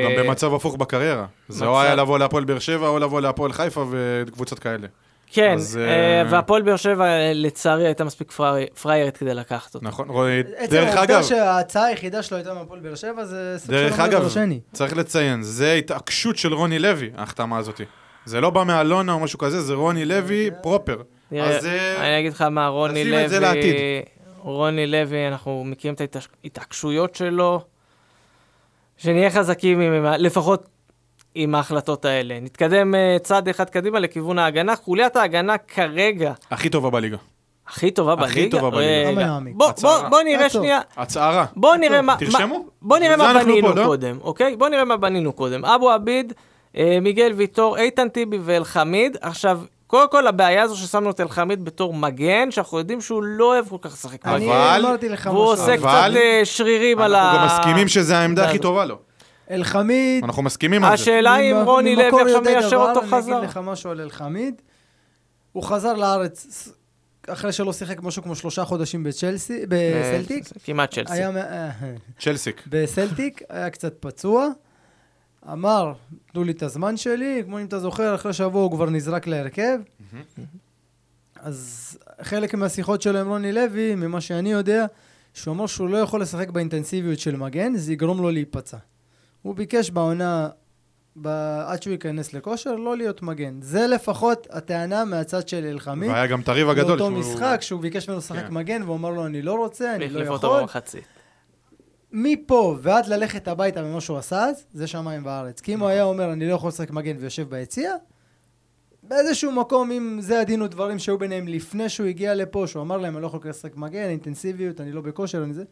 Speaker 2: הוא גם במצב הפוך בקריירה. זה או
Speaker 1: מצב-
Speaker 2: היה לבוא להפועל באר שבע, או לבוא להפועל חיפה וקבוצות כאלה.
Speaker 1: כן,
Speaker 2: אז,
Speaker 1: אה,
Speaker 2: אה,
Speaker 1: והפועל באר שבע אה, לצערי הייתה מספיק פרי- פריירית כדי לקחת אותו.
Speaker 2: נכון, רועי,
Speaker 3: עצם
Speaker 2: דרך
Speaker 3: העובדה
Speaker 2: אגב,
Speaker 3: שההצעה היחידה שלו הייתה מהפועל באר שבע זה סוג של
Speaker 2: דרך
Speaker 3: עומד
Speaker 2: אגב,
Speaker 3: דרשני.
Speaker 2: צריך לציין, זה התעקשות של רוני לוי, ההחתמה הזאת. זה לא בא מאלונה או משהו כזה, זה רוני
Speaker 3: אה,
Speaker 2: לוי פרופר.
Speaker 1: תראה,
Speaker 2: אז אה, זה...
Speaker 1: אני אגיד לך מה, רוני
Speaker 2: נשים את זה לעתיד.
Speaker 1: לוי, רוני לוי, אנחנו מכירים את ההתעש- ההתעקשויות שלו, שנהיה חזקים עם- עם, ה- לפחות עם ההחלטות האלה. נתקדם אה, צעד אחד קדימה לכיוון ההגנה. חוליית ההגנה כרגע
Speaker 2: הכי טובה בליגה.
Speaker 1: הכי טובה
Speaker 2: הכי
Speaker 1: בליגה.
Speaker 2: טובה בליגה.
Speaker 1: רגע,
Speaker 3: למה יעמיק?
Speaker 1: בוא-
Speaker 2: הצהרה.
Speaker 1: בוא- בוא נראה
Speaker 3: אה, טוב.
Speaker 1: שנייה.
Speaker 2: הצהרה.
Speaker 1: בוא נראה מה...
Speaker 2: תרשמו.
Speaker 1: מה- בוא נראה
Speaker 2: בשביל
Speaker 1: מה
Speaker 2: זה אנחנו
Speaker 1: בנינו
Speaker 2: פה, לא?
Speaker 1: קודם, אוקיי? בוא נראה מה בנינו קודם. אבו עביד, אה, מיגל ויטור, איתן טיבי ואלחמיד. עכשיו, קודם כל הבעיה הזו ששמנו את אלחמיד בתור מגן, שאנחנו יודעים שהוא לא אוהב כל כך לשחק
Speaker 3: אני
Speaker 1: מגן.
Speaker 2: אבל-
Speaker 3: אמרתי לך
Speaker 1: והוא
Speaker 3: משהו.
Speaker 1: עושה
Speaker 2: אבל-
Speaker 1: קצת אה, שרירים על ה...
Speaker 2: אנחנו גם מסכימים שזו העמדה הכי טובה לו.
Speaker 3: אלחמיד,
Speaker 2: אנחנו מסכימים על זה.
Speaker 1: השאלה אם
Speaker 3: ממ-
Speaker 1: רוני
Speaker 3: ממקור
Speaker 1: לוי עכשיו
Speaker 3: יודע
Speaker 1: מיישר
Speaker 3: דבר,
Speaker 1: אותו
Speaker 3: אני
Speaker 1: חזרה.
Speaker 3: אגיד לך משהו על אלחמיד. הוא חזר לארץ ס- אחרי שלא שיחק משהו כמו שלושה חודשים בצ'לסי, בסלטיק.
Speaker 1: כמעט אה, צ'לסי.
Speaker 3: אה, היה מ- אה,
Speaker 2: צ'לסיק.
Speaker 3: בסלטיק, היה קצת פצוע. אמר, תנו לי את הזמן שלי, כמו אם אתה זוכר, אחרי שבוע הוא כבר נזרק להרכב. אז חלק מהשיחות שלו עם רוני לוי, ממה שאני יודע, שהוא אמר שהוא לא יכול לשחק באינטנסיביות של מגן, זה יגרום לו להיפצע. הוא ביקש בעונה, ב... עד שהוא ייכנס לכושר, לא להיות מגן. זה לפחות הטענה מהצד של אלחמיד.
Speaker 2: והיה גם את הריב הגדול.
Speaker 3: באותו
Speaker 2: שהוא-
Speaker 3: משחק, שהוא ביקש ממנו לשחק
Speaker 2: כן.
Speaker 3: מגן, והוא אמר לו, אני לא רוצה, אני לא
Speaker 1: החליף
Speaker 3: יכול.
Speaker 1: אותו במחצית.
Speaker 3: מפה ועד ללכת הביתה ממה שהוא עשה אז, זה שמיים וארץ. כי אם הוא היה אומר, אני לא יכול לשחק מגן ויושב ביציע, באיזשהו מקום, אם זה הדין ודברים שהיו ביניהם לפני שהוא הגיע לפה, שהוא אמר להם, אני לא יכול לשחק מגן, אינטנסיביות, אני לא בכושר, אני זה,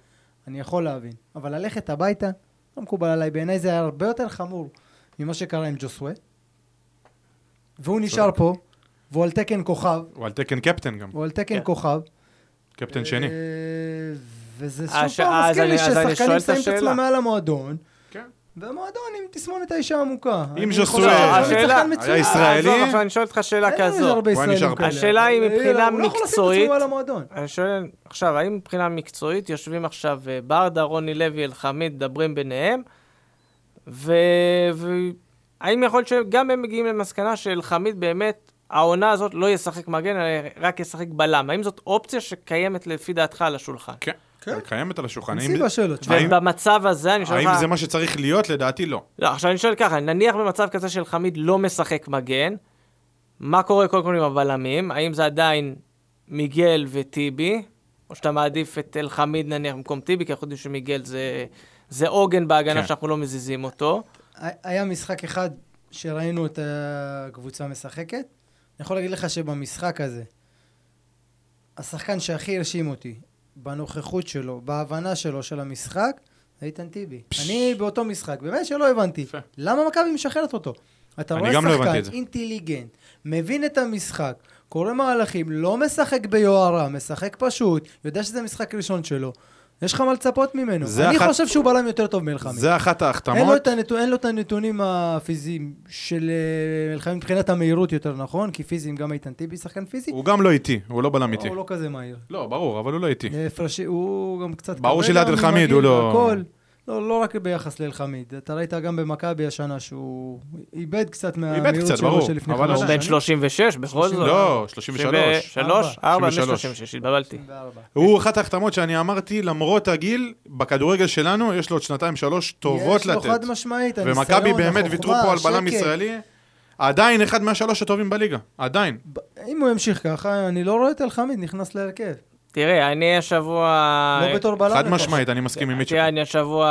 Speaker 3: אני יכול להבין. אבל ללכת הביתה, לא מקובל עליי, בעיניי זה היה הרבה יותר חמור ממה שקרה עם ג'וסווה. והוא נשאר פה, והוא על תקן כוכב,
Speaker 2: הוא על תקן קפטן גם.
Speaker 3: הוא על תקן
Speaker 1: כן.
Speaker 3: כוכב.
Speaker 2: קפטן שני.
Speaker 3: אה, וזה
Speaker 1: אה,
Speaker 3: שוב
Speaker 1: ש-
Speaker 3: פעם
Speaker 1: אז
Speaker 3: מזכיר לי
Speaker 1: אני- אז אני שואל
Speaker 3: ששחקנים
Speaker 1: את
Speaker 3: שמים את
Speaker 1: השאלה.
Speaker 3: עצמם מעל המועדון,
Speaker 2: כן.
Speaker 3: והמועדון עם תסמונת האישה המוכה.
Speaker 2: אם
Speaker 3: אני
Speaker 2: ז'וסואל-
Speaker 3: חושב שהוא שחקן
Speaker 1: השאלה-
Speaker 3: מצוין.
Speaker 2: אה, היה ישראלי?
Speaker 1: אה, עזוב, עכשיו אני שואל אותך שאלה
Speaker 3: אין
Speaker 1: כזו.
Speaker 3: אה, הרבה
Speaker 2: הוא היה
Speaker 3: ישראלים
Speaker 2: נשאר פה.
Speaker 3: כאלה.
Speaker 1: השאלה היא
Speaker 3: אה,
Speaker 1: מבחינה
Speaker 3: הוא לא יכול לשים את עצמו
Speaker 1: מקצועית-
Speaker 3: על המועדון.
Speaker 1: אני שואל, עכשיו, האם מבחינה מקצועית יושבים עכשיו אה, ברדה, רוני לוי, אלחמיד, מדברים ביניהם, והאם יכול להיות שגם הם מגיעים למסקנה שאלחמיד באמת, העונה הזאת לא ישחק מגן, אלא רק ישחק בלם? האם זאת אופציה שקיימת לפי דעתך על השולחן?
Speaker 2: כן.
Speaker 3: כן.
Speaker 2: זה קיימת על השולחן.
Speaker 3: אין
Speaker 2: האם-
Speaker 3: סיבה שלא. תשמע.
Speaker 2: האם-
Speaker 1: ובמצב הזה, אני שואל
Speaker 2: האם
Speaker 1: לך...
Speaker 2: זה מה שצריך להיות? לדעתי לא.
Speaker 1: לא, עכשיו אני שואל ככה, נניח במצב כזה שאלחמיד לא משחק מגן, מה קורה קודם כל עם הבלמים? האם זה עדיין מיגל וטיבי, או שאתה מעדיף את אלחמיד נניח במקום טיבי, כי אנחנו יודעים שמיגל זה, זה עוגן בהגנה
Speaker 2: כן.
Speaker 1: שאנחנו לא מזיזים אותו.
Speaker 3: היה משחק אחד שראינו את הקבוצה משחקת. אני יכול להגיד לך שבמשחק הזה, השחקן שהכי הרשים אותי, בנוכחות שלו, בהבנה שלו של המשחק, זה איתן טיבי. אני באותו משחק, באמת שלא הבנתי.
Speaker 2: יפה.
Speaker 3: למה מכבי משחררת אותו? אתה
Speaker 2: אני
Speaker 3: רואה
Speaker 2: גם לא הבנתי
Speaker 3: שחקן
Speaker 2: את זה.
Speaker 3: אינטליגנט, מבין את המשחק, קורא מהלכים, לא משחק ביוהרה, משחק פשוט, יודע שזה משחק ראשון שלו. יש לך מה לצפות ממנו.
Speaker 2: זה
Speaker 3: אני
Speaker 2: אחת-
Speaker 3: חושב שהוא בלם יותר טוב מאלחמי.
Speaker 2: זה אחת
Speaker 3: אין לו,
Speaker 2: ההחתמות.
Speaker 3: את הנתו, אין לו את הנתונים הפיזיים של אה, מלחמה מבחינת המהירות יותר נכון, כי פיזיים גם איתן טיבי שחקן פיזי,
Speaker 2: הוא גם לא איטי, הוא לא בלם איטי.
Speaker 3: הוא לא כזה מהיר.
Speaker 2: לא, ברור, אבל הוא לא איטי.
Speaker 3: אה, הפרשי, הוא גם קצת...
Speaker 2: ברור
Speaker 3: כבד
Speaker 2: שליד
Speaker 3: הממדים
Speaker 2: אלחמיד הוא לא-
Speaker 3: והכל. לא, לא רק ביחס לאלחמיד, אתה ראית גם במכבי השנה שהוא איבד קצת
Speaker 2: קצת,
Speaker 3: מהמהירות
Speaker 2: ברור,
Speaker 3: שלו של לפני
Speaker 2: אבל
Speaker 3: חמש
Speaker 1: הוא
Speaker 2: השנה-
Speaker 1: בן 36 בכל זאת.
Speaker 2: לא, 33.
Speaker 1: 33? 4,
Speaker 2: 33.
Speaker 1: 36, התבלבלתי.
Speaker 3: וארבע.
Speaker 2: הוא אחת ההחתמות שאני אמרתי, למרות הגיל, בכדורגל שלנו יש לו עוד שנתיים שלוש טובות
Speaker 3: יש לו חד
Speaker 2: לתת.
Speaker 3: משמעית, הניסיון,
Speaker 2: ומכבי באמת
Speaker 3: החוכמה,
Speaker 2: ויתרו פה על בלם
Speaker 3: השקט.
Speaker 2: ישראלי. עדיין אחד מהשלוש הטובים בליגה, עדיין.
Speaker 3: ב- אם הוא ימשיך ככה, אני לא רואה את אלחמיד נכנס להרכב.
Speaker 1: תראה, אני השבוע...
Speaker 2: אה,
Speaker 3: לא בתור בלם.
Speaker 2: חד
Speaker 3: לפחות.
Speaker 2: משמעית, אני מסכים עם מיצ'קו.
Speaker 1: תראה, אני השבוע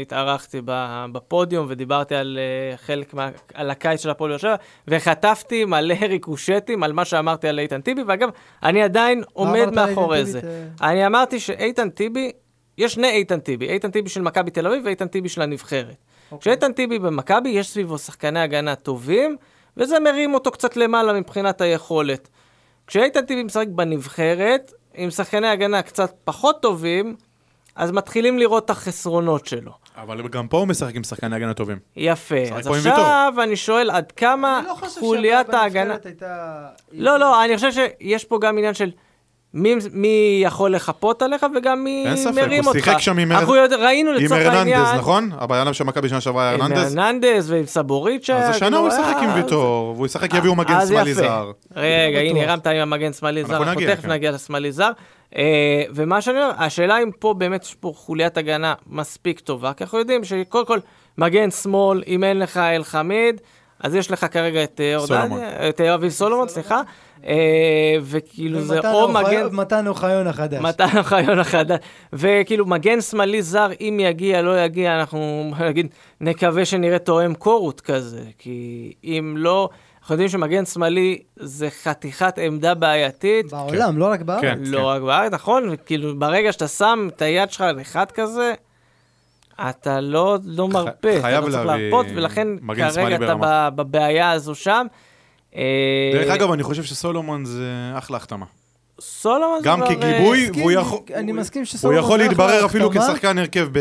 Speaker 1: התארחתי ב- בפודיום ודיברתי על אה, חלק מה... על הקיץ של הפועל באר שבע, וחטפתי מלא ריקושטים על מה שאמרתי על איתן טיבי, ואגב, אני עדיין עומד
Speaker 3: אמרת על
Speaker 1: מאחורי
Speaker 3: איתן
Speaker 1: זה.
Speaker 3: טיבי?
Speaker 1: אני אמרתי שאיתן טיבי, יש שני איתן טיבי, איתן טיבי של מכבי תל אביב ואיתן טיבי של הנבחרת.
Speaker 3: אוקיי.
Speaker 1: כשאיתן טיבי במכבי, יש סביבו שחקני הגנה טובים, וזה מרים אותו קצת למעלה מבחינת היכולת. כשאיתן טיבי משחק בנבחרת, עם שחקני הגנה קצת פחות טובים, אז מתחילים לראות את החסרונות שלו.
Speaker 2: אבל גם פה הוא משחק עם שחקני הגנה טובים.
Speaker 1: יפה.
Speaker 2: משחק
Speaker 1: אז
Speaker 2: פה עם
Speaker 1: עכשיו אני שואל עד כמה
Speaker 3: אני לא חושב
Speaker 1: חוליית
Speaker 3: שהבעיה
Speaker 1: ההגנה...
Speaker 3: בנבחרת הייתה...
Speaker 1: לא, לא, אני חושב שיש פה גם עניין של... מי, מי יכול לחפות עליך וגם מי
Speaker 2: אין ספק, הוא
Speaker 1: מרים אותך.
Speaker 2: שיחק שם עם הר-
Speaker 1: אנחנו יודע, ראינו
Speaker 2: עם
Speaker 1: לצורך העניין...
Speaker 2: הרננדז, נכון? הבעיה למה של מכבי שנה שעברה היה
Speaker 1: עם
Speaker 2: הרננדז.
Speaker 1: הרננדז ועם סבורית שהיה...
Speaker 2: אז השנה הוא
Speaker 1: כאילו,
Speaker 2: ישחק עם
Speaker 1: אה,
Speaker 2: ויטור, והוא ישחק יביאו מגן
Speaker 1: אז
Speaker 2: שמאלי
Speaker 1: יפה.
Speaker 2: זר.
Speaker 1: רגע,
Speaker 3: לא
Speaker 1: הנה,
Speaker 3: בטוח.
Speaker 1: הרמת עם המגן שמאלי זר,
Speaker 2: אנחנו
Speaker 1: אנחנו
Speaker 2: נגיע,
Speaker 1: תכף
Speaker 2: כן.
Speaker 1: נגיע לשמאלי זר. אה, ומה שאני אומר, השאלה אם פה באמת יש פה חוליית הגנה מספיק טובה, כי אנחנו יודעים שקודם כל, מגן שמאל, אם אין לך אלחמיד, אז יש לך כרגע את אה, אורדן,
Speaker 2: סולומון.
Speaker 1: את אה, אביב סולומון, סליחה, אה, וכאילו זה
Speaker 3: ומתן
Speaker 1: או
Speaker 3: אוחיון-
Speaker 1: מגן...
Speaker 3: מתן אוחיון החדש.
Speaker 1: מתן אוחיון החדש. וכאילו, מגן שמאלי זר, אם יגיע, לא יגיע, אנחנו נגיד, נקווה שנראה תואם קורות כזה. כי אם לא, אנחנו יודעים שמגן שמאלי זה חתיכת עמדה בעייתית.
Speaker 3: בעולם, לא רק בארץ.
Speaker 2: כן.
Speaker 1: לא רק בארץ, נכון? כאילו, ברגע שאתה שם את היד שלך על אחד כזה, אתה לא, לא מרפה, אתה
Speaker 2: חייב
Speaker 1: לא צריך
Speaker 2: להביא
Speaker 1: להרפות, ולכן
Speaker 2: מגן שמאלי
Speaker 1: כרגע אתה
Speaker 2: ברמה.
Speaker 1: ב- בבעיה הזו שם. אה,
Speaker 2: דרך אגב, אני חושב שסולומון זה אחלה החתמה.
Speaker 1: סולומון זה
Speaker 2: גם
Speaker 1: כבר,
Speaker 2: כגיבוי,
Speaker 3: מסכים,
Speaker 2: והוא יכול-
Speaker 3: כן, אני
Speaker 2: הוא-
Speaker 3: מסכים שסולומון
Speaker 2: הוא יכול
Speaker 3: זה אחלה
Speaker 2: להתברר אפילו
Speaker 3: החתמה.
Speaker 2: כשחקן הרכב ב...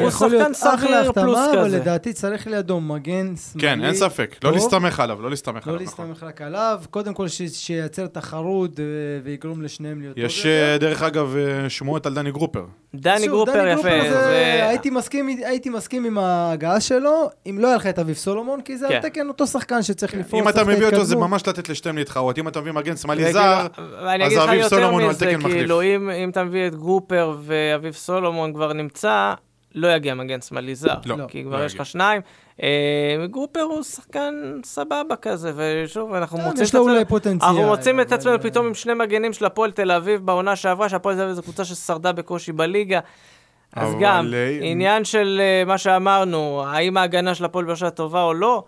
Speaker 1: הוא
Speaker 3: יכול
Speaker 1: שחקן
Speaker 3: להיות אחלה
Speaker 1: סביר
Speaker 3: החתמה,
Speaker 1: פלוס
Speaker 3: אבל
Speaker 1: כזה.
Speaker 3: לדעתי צריך לידו מגן שמאלי.
Speaker 2: כן, אין ספק. לא
Speaker 3: טוב.
Speaker 2: להסתמך עליו, לא להסתמך
Speaker 3: לא
Speaker 2: עליו, נכון.
Speaker 3: להסתמך רק עליו, קודם כל ש- שייצר תחרות אה, ויגרום לשניהם להיות טוב
Speaker 2: יש,
Speaker 3: יותר.
Speaker 2: אה, דרך אגב, אה, שמועות על דני גרופר.
Speaker 1: אה, דני
Speaker 3: שוב,
Speaker 1: גרופר יפה.
Speaker 3: זה...
Speaker 1: זה-
Speaker 3: הייתי, מסכים, הייתי מסכים עם ההגעה שלו, אם לא היה לך את אביב סולומון, כי זה
Speaker 1: כן.
Speaker 3: על תקן אותו שחקן שצריך לפרוס.
Speaker 2: כן. אם אתה
Speaker 3: צריך
Speaker 2: מביא אותו, זה
Speaker 3: להתקדמות.
Speaker 2: ממש לתת לשתיהם להתחרות. אם אתה מביא מגן שמאלי
Speaker 1: וכאילו,
Speaker 2: זר,
Speaker 1: ואני אגיד
Speaker 2: אז
Speaker 1: לך
Speaker 2: אביב
Speaker 1: יותר
Speaker 2: סולומון הוא על
Speaker 1: מזה,
Speaker 2: תקן מחליף.
Speaker 1: כאילו, אם, אם אתה מביא את גרופר ואביב סולומון כבר נמצא, לא יגיע מגן שמאלי זר.
Speaker 2: לא,
Speaker 1: כי
Speaker 2: לא
Speaker 1: כבר יש
Speaker 2: יגיע.
Speaker 1: לך שניים. אה, גרופר הוא שחקן סבבה כזה, ושוב, אנחנו
Speaker 3: כן,
Speaker 1: מוצאים
Speaker 3: יש
Speaker 1: את
Speaker 3: לו
Speaker 1: עצמנו...
Speaker 3: אולי פוטנציאל.
Speaker 1: אנחנו מוצאים את
Speaker 3: אבל,
Speaker 1: עצמנו
Speaker 3: אה,
Speaker 1: פתאום עם שני מגנים של הפועל תל אביב בעונה שעברה, שהפועל תל אביב זו קבוצה ששרדה בקושי בליגה. אז
Speaker 2: אבל,
Speaker 1: גם,
Speaker 2: אה,
Speaker 1: עניין של אה, מה שאמרנו, האם ההגנה של הפועל באר שבע טובה או לא,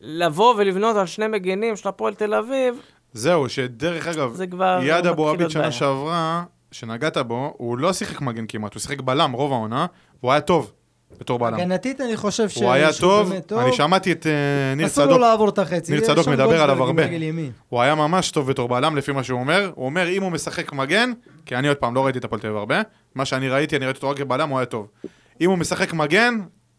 Speaker 1: לבוא ולבנות על שני מגנים של הפועל תל אביב,
Speaker 2: זהו, שדרך אגב,
Speaker 1: זה כבר
Speaker 2: יעד
Speaker 1: מתחיל
Speaker 2: אבו עביד
Speaker 1: להיות בעיה.
Speaker 2: שנה שעברה, שנגעת בו, הוא לא שיחק מגן כמעט, הוא שיחק בלם רוב העונה, והוא היה טוב בתור בלם.
Speaker 3: הגנתית אני חושב ש...
Speaker 2: הוא היה
Speaker 3: שהוא
Speaker 2: טוב,
Speaker 3: באמת
Speaker 2: אני שמעתי את אה, ניר
Speaker 3: אסור לו
Speaker 2: צדוק,
Speaker 3: לעבור את החצי.
Speaker 2: ניר
Speaker 3: יש
Speaker 2: צדוק
Speaker 3: שם
Speaker 2: מדבר
Speaker 3: גולדברג
Speaker 2: עליו
Speaker 3: עם
Speaker 2: הרבה.
Speaker 3: רגל ימין.
Speaker 2: הוא היה ממש טוב בתור בלם לפי מה שהוא אומר, הוא אומר אם הוא משחק מגן, כי אני עוד פעם לא ראיתי את הפועל תל אביב הרבה, מה שאני ראיתי, אני ראיתי אותו רק כבלם, הוא היה טוב. אם הוא משחק מגן,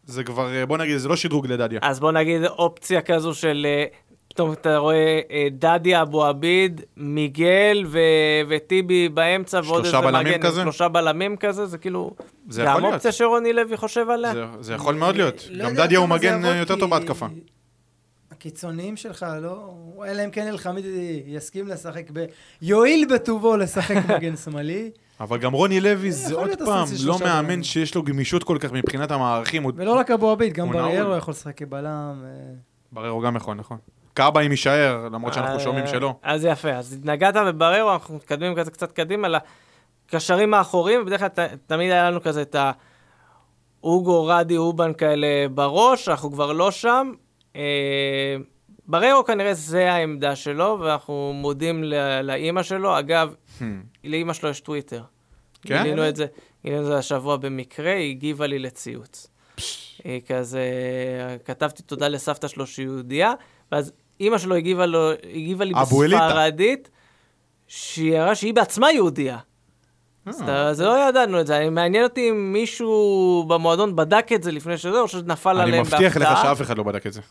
Speaker 2: זה כבר, אה, בוא נגיד, זה לא שדרוג לדדיה.
Speaker 1: אז בוא נגיד אופציה כזו של, אה, פתאום אתה רואה אה, דדיה, אבו עביד, מיגל ו- וטיבי באמצע, ועוד
Speaker 2: שלושה
Speaker 1: איזה
Speaker 2: בלמים
Speaker 1: מגן,
Speaker 2: כזה?
Speaker 1: שלושה בלמים כזה, זה כאילו,
Speaker 2: זה יכול
Speaker 1: גם
Speaker 2: להיות.
Speaker 1: אופציה שרוני לוי חושב עליה.
Speaker 2: זה- זה יכול מאוד להיות.
Speaker 3: אה, לא
Speaker 2: גם
Speaker 3: יודע
Speaker 2: דדיה הוא
Speaker 3: כמה זה
Speaker 2: מגן
Speaker 3: יעבוד,
Speaker 2: אה, יותר
Speaker 3: כי
Speaker 2: טוב בהתקפה.
Speaker 3: הקיצוניים שלך, לא... אלא אם כן אלחמיד יסכים לשחק ב... יואיל בטובו לשחק מגן שמאלי,
Speaker 2: אבל גם רוני לוי זה
Speaker 3: אה, יכול
Speaker 2: עוד
Speaker 3: להיות
Speaker 2: פעם
Speaker 3: הסנסי
Speaker 2: לא
Speaker 3: שלושה בלמים.
Speaker 2: מאמן שיש לו גמישות כל כך מבחינת המערכים, הוא
Speaker 3: ולא רק אבו עביד, גם
Speaker 2: הוא נעול.
Speaker 3: בריירו יכול לשחק כבלם. אה,
Speaker 2: ברר הוא גם יכול, נכון. קאבה אם יישאר, למרות שאנחנו
Speaker 1: אה,
Speaker 2: שומעים שלא.
Speaker 1: אז יפה, אז נגעת בבררו, אנחנו מתקדמים כזה קצת קדימה לקשרים האחוריים, ובדרך כלל ת- תמיד היה לנו כזה את האוגו, רדי, אובן כאלה בראש, אנחנו כבר לא שם. אה, בררו כנראה זה העמדה שלו, ואנחנו מודים ל- לאימא שלו. אגב,
Speaker 3: אה,
Speaker 2: Hmm.
Speaker 1: לאימא שלו יש טוויטר.
Speaker 2: כן?
Speaker 3: לא
Speaker 1: גילינו את זה, גילינו את זה השבוע במקרה, היא הגיבה לי לציוץ. היא כזה, כתבתי תודה לסבתא שלו שהיא יהודייה, ואז אימא שלו הגיבה, לו, הגיבה לי
Speaker 2: אבואליטה. אה,
Speaker 1: בספרדית, שהיא אמרה שהיא בעצמה יהודייה. אז
Speaker 2: אוקיי.
Speaker 1: אתה- זה לא ידענו את זה, אני- מעניין אותי אם מישהו במועדון בדק את זה לפני שזה, או שנפל עליהם
Speaker 2: אני
Speaker 1: בהפתעה.
Speaker 2: מבטיח לך שאף אחד לא בדק את זה.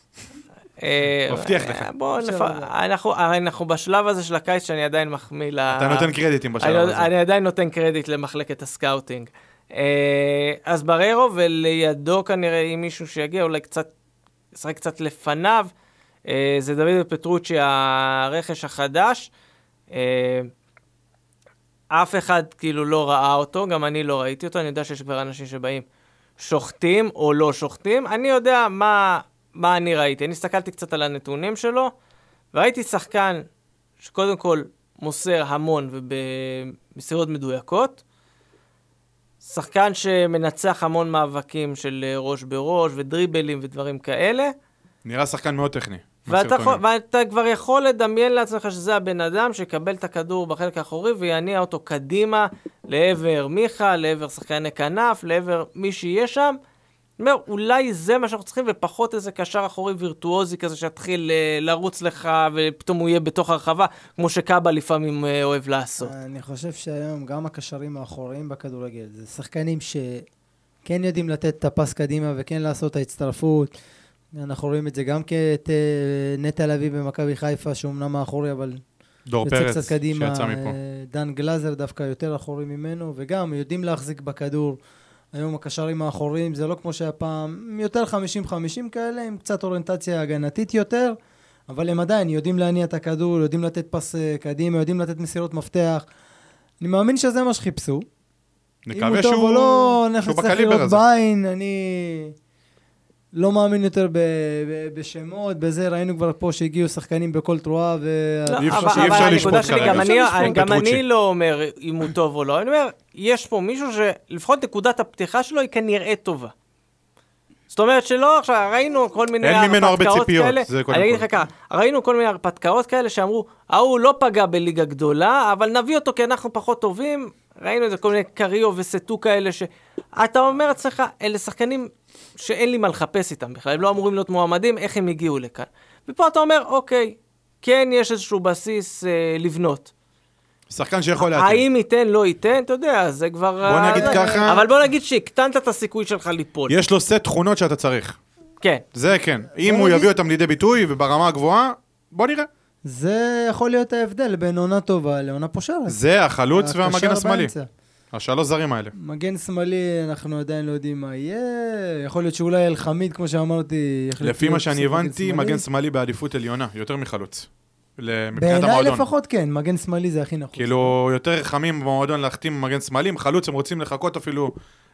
Speaker 1: אה,
Speaker 2: מבטיח
Speaker 1: אה,
Speaker 2: לך.
Speaker 1: בוא,
Speaker 3: אפשר
Speaker 1: נפ-
Speaker 3: לדעת.
Speaker 1: אנחנו- אנחנו בשלב הזה של הקיץ שאני עדיין מחמיא
Speaker 3: אה,
Speaker 1: ל...
Speaker 2: אתה נותן קרדיטים
Speaker 3: לא-
Speaker 1: אני-
Speaker 2: בשלב הזה.
Speaker 1: אני עדיין נותן קרדיט למחלקת הסקאוטינג. אה, אז בררו, ולידו כנראה עם מישהו שיגיע, אולי קצת, ישחק קצת לפניו, אה, זה דוד פטרוצ'י, הרכש החדש. אה, אף אחד כאילו לא ראה אותו, גם אני לא ראיתי אותו, אני יודע שיש כבר אנשים שבאים שוחטים או לא שוחטים. אני יודע מה, מה אני ראיתי. אני הסתכלתי קצת על הנתונים שלו, וראיתי שחקן שקודם כל מוסר המון ובמסירות מדויקות. שחקן שמנצח המון מאבקים של אה, ראש בראש ודריבלים ודברים כאלה.
Speaker 2: נראה שחקן מאוד טכני.
Speaker 1: ואתה,
Speaker 2: מהסרטונים.
Speaker 1: יכול, ואתה כבר יכול לדמיין לעצמך שזה הבן אדם שיקבל את הכדור בחלק האחורי ויניע אותו קדימה לעבר מיכה, לעבר שחקני כנף, לעבר מי שיהיה שם. אני אומר, אולי זה מה שאנחנו צריכים, ופחות איזה קשר אחורי וירטואוזי כזה שיתחיל אה, לרוץ לך, ופתאום הוא יהיה בתוך הרחבה, כמו שקאבה לפעמים אה, אוהב לעשות.
Speaker 3: אני חושב שהיום גם הקשרים האחוריים בכדורגל זה שחקנים שכן יודעים לתת את הפס קדימה וכן לעשות את ההצטרפות. אנחנו רואים את זה גם כאת אה, נטע לביא במכבי חיפה, שאומנם האחורי, אבל
Speaker 2: דור
Speaker 3: יוצא
Speaker 2: פרץ,
Speaker 3: קצת קדימה.
Speaker 2: שיצא מפה.
Speaker 3: אה, דן גלאזר דווקא יותר אחורי ממנו, וגם יודעים להחזיק בכדור. היום הקשרים האחוריים זה לא כמו שהיה פעם, הם יותר 50-50 כאלה, עם קצת אוריינטציה הגנתית יותר, אבל הם עדיין יודעים להניע את הכדור, יודעים לתת פס אה, קדימה, יודעים לתת מסירות מפתח. אני מאמין שזה מה שחיפשו. אם הוא
Speaker 2: נקווה
Speaker 3: טוב או לא,
Speaker 2: שהוא
Speaker 3: אנחנו
Speaker 2: שהוא
Speaker 3: נצטרך
Speaker 2: בקליבר
Speaker 3: לראות
Speaker 2: הזה.
Speaker 3: בעין, אני לא מאמין יותר ב- ב- בשמות, בזה ראינו כבר פה שהגיעו שחקנים בכל תרועה, ו...
Speaker 1: לא,
Speaker 2: אי אפשר-
Speaker 1: אבל-
Speaker 2: אי אפשר
Speaker 1: אבל
Speaker 2: לשפוט
Speaker 1: הנקודה שלי,
Speaker 2: כרגע.
Speaker 1: גם
Speaker 2: אי
Speaker 1: אני-
Speaker 2: אפשר לשפוט
Speaker 1: גם
Speaker 2: פטרוצ'י.
Speaker 1: אני לא אומר אם הוא טוב או לא, אני אומר, יש פה מישהו שלפחות נקודת הפתיחה שלו היא כנראה טובה. זאת אומרת שלא, עכשיו ראינו כל מיני
Speaker 2: אין ממנו הרבה
Speaker 1: הרפתקאות
Speaker 2: ציפיות,
Speaker 1: כאלה,
Speaker 2: זה קודם
Speaker 1: אני אגיד
Speaker 2: כל.
Speaker 1: לך ככה, ראינו כל מיני הרפתקאות כאלה שאמרו, ההוא לא פגע בליגה גדולה, אבל נביא אותו כי אנחנו פחות טובים, ראינו את זה, כל מיני קריו וסטו כאלה, שאתה אומר לעצמך, אלה שחקנים שאין לי מה לחפש איתם בכלל, הם לא אמורים להיות מועמדים, איך הם הגיעו לכאן. ופה אתה אומר, אוקיי, כן יש איזשהו בסיס אה, לבנות.
Speaker 2: שחקן שיכול להתאים.
Speaker 1: האם ייתן, לא ייתן, אתה יודע, זה כבר...
Speaker 2: בוא נגיד
Speaker 1: אה,
Speaker 2: ככה-
Speaker 1: אבל בוא נגיד שהקטנת את הסיכוי שלך ליפול.
Speaker 2: יש לו סט תכונות שאתה צריך.
Speaker 1: כן.
Speaker 2: זה כן. אם
Speaker 3: בוא
Speaker 2: הוא
Speaker 3: נגיד-
Speaker 2: יביא אותם לידי ביטוי וברמה הגבוהה, בוא נראה.
Speaker 3: זה יכול להיות ההבדל בין עונה טובה לעונה פושרת.
Speaker 2: זה החלוץ
Speaker 3: הקשר
Speaker 2: והמגן השמאלי.
Speaker 3: באמצע.
Speaker 2: השלוש זרים האלה.
Speaker 3: מגן שמאלי, אנחנו עדיין לא יודעים מה יהיה. יכול להיות שאולי אלחמיד, כמו שאמרתי, יחליט
Speaker 2: לפי מה
Speaker 3: להיות
Speaker 2: שאני
Speaker 3: מגן
Speaker 2: הבנתי,
Speaker 3: שמאלי.
Speaker 2: מגן שמאלי בעדיפות עליונה, יותר מחלוץ. ל- מבחינת
Speaker 3: בעיניי
Speaker 2: המועדון.
Speaker 3: לפחות כן, מגן שמאלי זה הכי נכון.
Speaker 2: כאילו, יותר חמים במועדון להחתים מגן שמאלי, עם חלוץ הם רוצים לחכות אפילו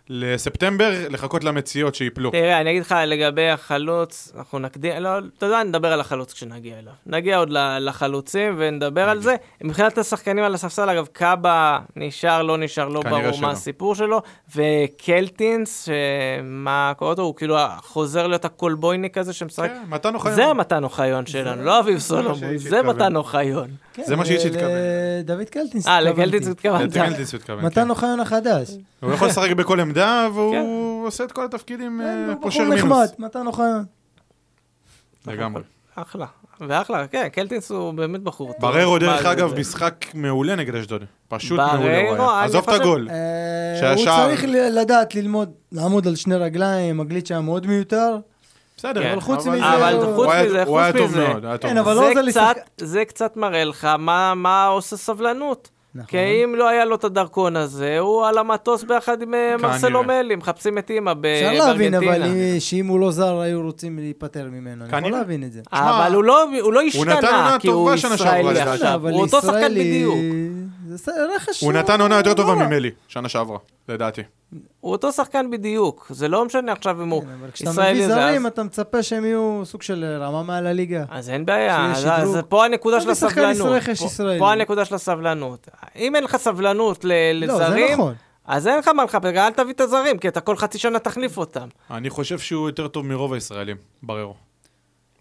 Speaker 2: לספטמבר, לחכות למציאות שיפלו.
Speaker 1: תראה, אני אגיד לך לגבי החלוץ, אנחנו נקדים, לא, אתה יודע, נדבר על החלוץ כשנגיע אליו. נגיע עוד ל- לחלוצים ונדבר על זה. מבחינת השחקנים על הספסל, אגב, קאבה נשאר, לא נשאר, לא
Speaker 2: כנראה
Speaker 1: ברור
Speaker 2: שלא.
Speaker 1: מה הסיפור שלו, וקלטינס, שמה קורא אותו, הוא כאילו חוזר להיות הקולבויניק הזה שמשחק.
Speaker 2: כן, מתן אוחיון.
Speaker 1: זה המתן אוחיון שלנו, לא אביב סולומון,
Speaker 2: שאיש
Speaker 1: זה
Speaker 2: התכוון.
Speaker 1: מתן אוחיון.
Speaker 3: כן,
Speaker 2: זה מה שאיש התכוון.
Speaker 3: לדוד קלטינס.
Speaker 1: אה,
Speaker 3: התכוונתי.
Speaker 1: לקלטינס התכוונת.
Speaker 2: כן, טיסו התכוון, כן.
Speaker 3: מתן אוחיון החדש.
Speaker 2: הוא יכול לשחק בכל עמדה,
Speaker 1: כן.
Speaker 2: והוא עושה את כל התפקידים אה,
Speaker 3: כן, הוא בחור
Speaker 2: פושר
Speaker 3: נחמד,
Speaker 2: מינוס.
Speaker 3: מתן אוחיון.
Speaker 2: לגמרי.
Speaker 1: אחלה, ואחלה, כן, קלטינס הוא באמת בחור טוב.
Speaker 2: בררו, דרך
Speaker 1: נחמד
Speaker 2: אגב,
Speaker 1: וזה.
Speaker 2: משחק מעולה נגד אשדוד. פשוט
Speaker 1: בררו,
Speaker 2: מעולה. הוא היה.
Speaker 1: אני
Speaker 2: עזוב את
Speaker 1: חושב-
Speaker 2: הגול.
Speaker 3: אה, הוא
Speaker 2: שהשער-
Speaker 3: צריך ל- לדעת ללמוד, לעמוד על שני רגליים, הגליץ' היה מאוד מיותר.
Speaker 1: כן.
Speaker 2: בסדר,
Speaker 1: אבל
Speaker 3: חוץ מזה-
Speaker 2: הוא-
Speaker 3: אבל
Speaker 1: חוץ
Speaker 2: הוא היה-
Speaker 1: מזה,
Speaker 2: הוא היה
Speaker 1: חוץ
Speaker 2: טוב
Speaker 1: מזה.
Speaker 2: מאוד, היה טוב
Speaker 3: כן,
Speaker 2: מאוד.
Speaker 3: אבל לא
Speaker 1: זה
Speaker 3: עוזר לי
Speaker 1: קצת-
Speaker 3: שחק-
Speaker 1: זה קצת מראה לך מה- מה עושה סבלנות.
Speaker 3: נכון.
Speaker 1: כי אם לא היה לו את הדרכון הזה, הוא על המטוס ביחד עם אה,
Speaker 2: כנראה.
Speaker 1: מרסלו מלי, מחפשים את אימא ב-
Speaker 3: אפשר
Speaker 1: אה, בארגנטינה.
Speaker 3: להבין, אבל אם- שאם הוא לא זר, היו רוצים להיפטר ממנו. אני יכול
Speaker 2: כנראה.
Speaker 3: להבין את זה.
Speaker 1: אבל
Speaker 2: שמע,
Speaker 1: הוא לא הוא לא
Speaker 2: נתן
Speaker 1: השתנה,
Speaker 2: עונה
Speaker 1: כי הוא
Speaker 2: טובה שנה שעברה,
Speaker 1: ישראלי
Speaker 2: לדעתי.
Speaker 1: עכשיו.
Speaker 3: אבל
Speaker 1: הוא אותו שחקן
Speaker 3: לישראלי-
Speaker 1: בדיוק.
Speaker 3: זה ס- רכש...
Speaker 2: הוא
Speaker 3: לא-
Speaker 2: נתן עונה יותר
Speaker 3: לא
Speaker 2: טובה
Speaker 3: רע.
Speaker 2: ממלי, שנה שעברה, לדעתי.
Speaker 1: הוא אותו שחקן בדיוק. זה לא משנה עכשיו אם הוא
Speaker 3: כן, אבל כשאתה
Speaker 1: ישראלי
Speaker 3: מביא
Speaker 1: זה...
Speaker 3: זרים,
Speaker 1: אז-
Speaker 3: אתה מצפה שהם יהיו סוג של רמה מעל הליגה.
Speaker 1: אז אין בעיה, אז,
Speaker 3: שיהיה
Speaker 1: אז
Speaker 3: שדרוג.
Speaker 1: פה הנקודה של
Speaker 3: תביא שחקן
Speaker 1: הסבלנות.
Speaker 3: ישראל, רכש
Speaker 1: פה,
Speaker 3: ישראלי.
Speaker 1: פה הנקודה של הסבלנות. אם אין לך סבלנות ל-
Speaker 3: לא, זה
Speaker 1: לזרים,
Speaker 3: נכון.
Speaker 1: אז אין לך מה לחפש, אל תביא את הזרים, כי אתה כל חצי שנה תחליף אותם.
Speaker 2: אני חושב שהוא יותר טוב מרוב הישראלים, בררו.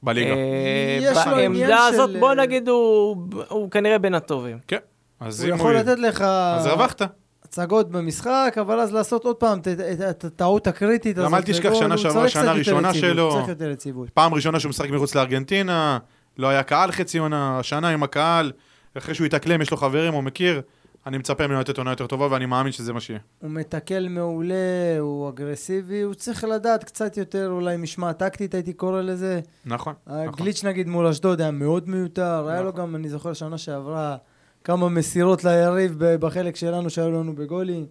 Speaker 2: בליגה.
Speaker 1: אה,
Speaker 3: יש לו עניין
Speaker 1: בעמדה
Speaker 3: של- אה,
Speaker 1: הזאת, בוא נגיד, הוא הוא כנראה בין הטובים.
Speaker 2: כן. אז
Speaker 3: הוא
Speaker 2: אם הוא...
Speaker 3: יכול לתת לך
Speaker 2: אז הרווחת.
Speaker 3: הצגות במשחק, אבל אז לעשות עוד פעם את- את את הטעות הקריטית הזאת.
Speaker 2: גם אל תשכח
Speaker 3: בגול,
Speaker 2: שנה
Speaker 3: הוא
Speaker 2: שעברה,
Speaker 3: צריך
Speaker 2: שנה
Speaker 3: קצת יותר
Speaker 2: ראשונה
Speaker 3: יציבות,
Speaker 2: שלו.
Speaker 3: הוא צריך יותר יציבות.
Speaker 2: פעם ראשונה שהוא משחק מחוץ לארגנטינה, לא היה קהל חצי עונה, השנה עם הקהל, אחרי שהוא התאקלם, יש לו חברים, הוא מכיר, אני מצפה ממנו לתת עונה יותר טובה, ואני מאמין שזה מה שיהיה.
Speaker 3: הוא מתקל מעולה, הוא אגרסיבי, הוא צריך לדעת קצת יותר אולי משמעת טקטית, הייתי קורא לזה.
Speaker 2: נכון, נכון.
Speaker 3: הגליץ' נגיד מול אשדוד היה מאוד מיותר, היה לו
Speaker 2: נכון.
Speaker 3: גם, אני זוכר שנה שעברה, כמה מסירות ליריב ב- בחלק שלנו שהיו לנו בגולים.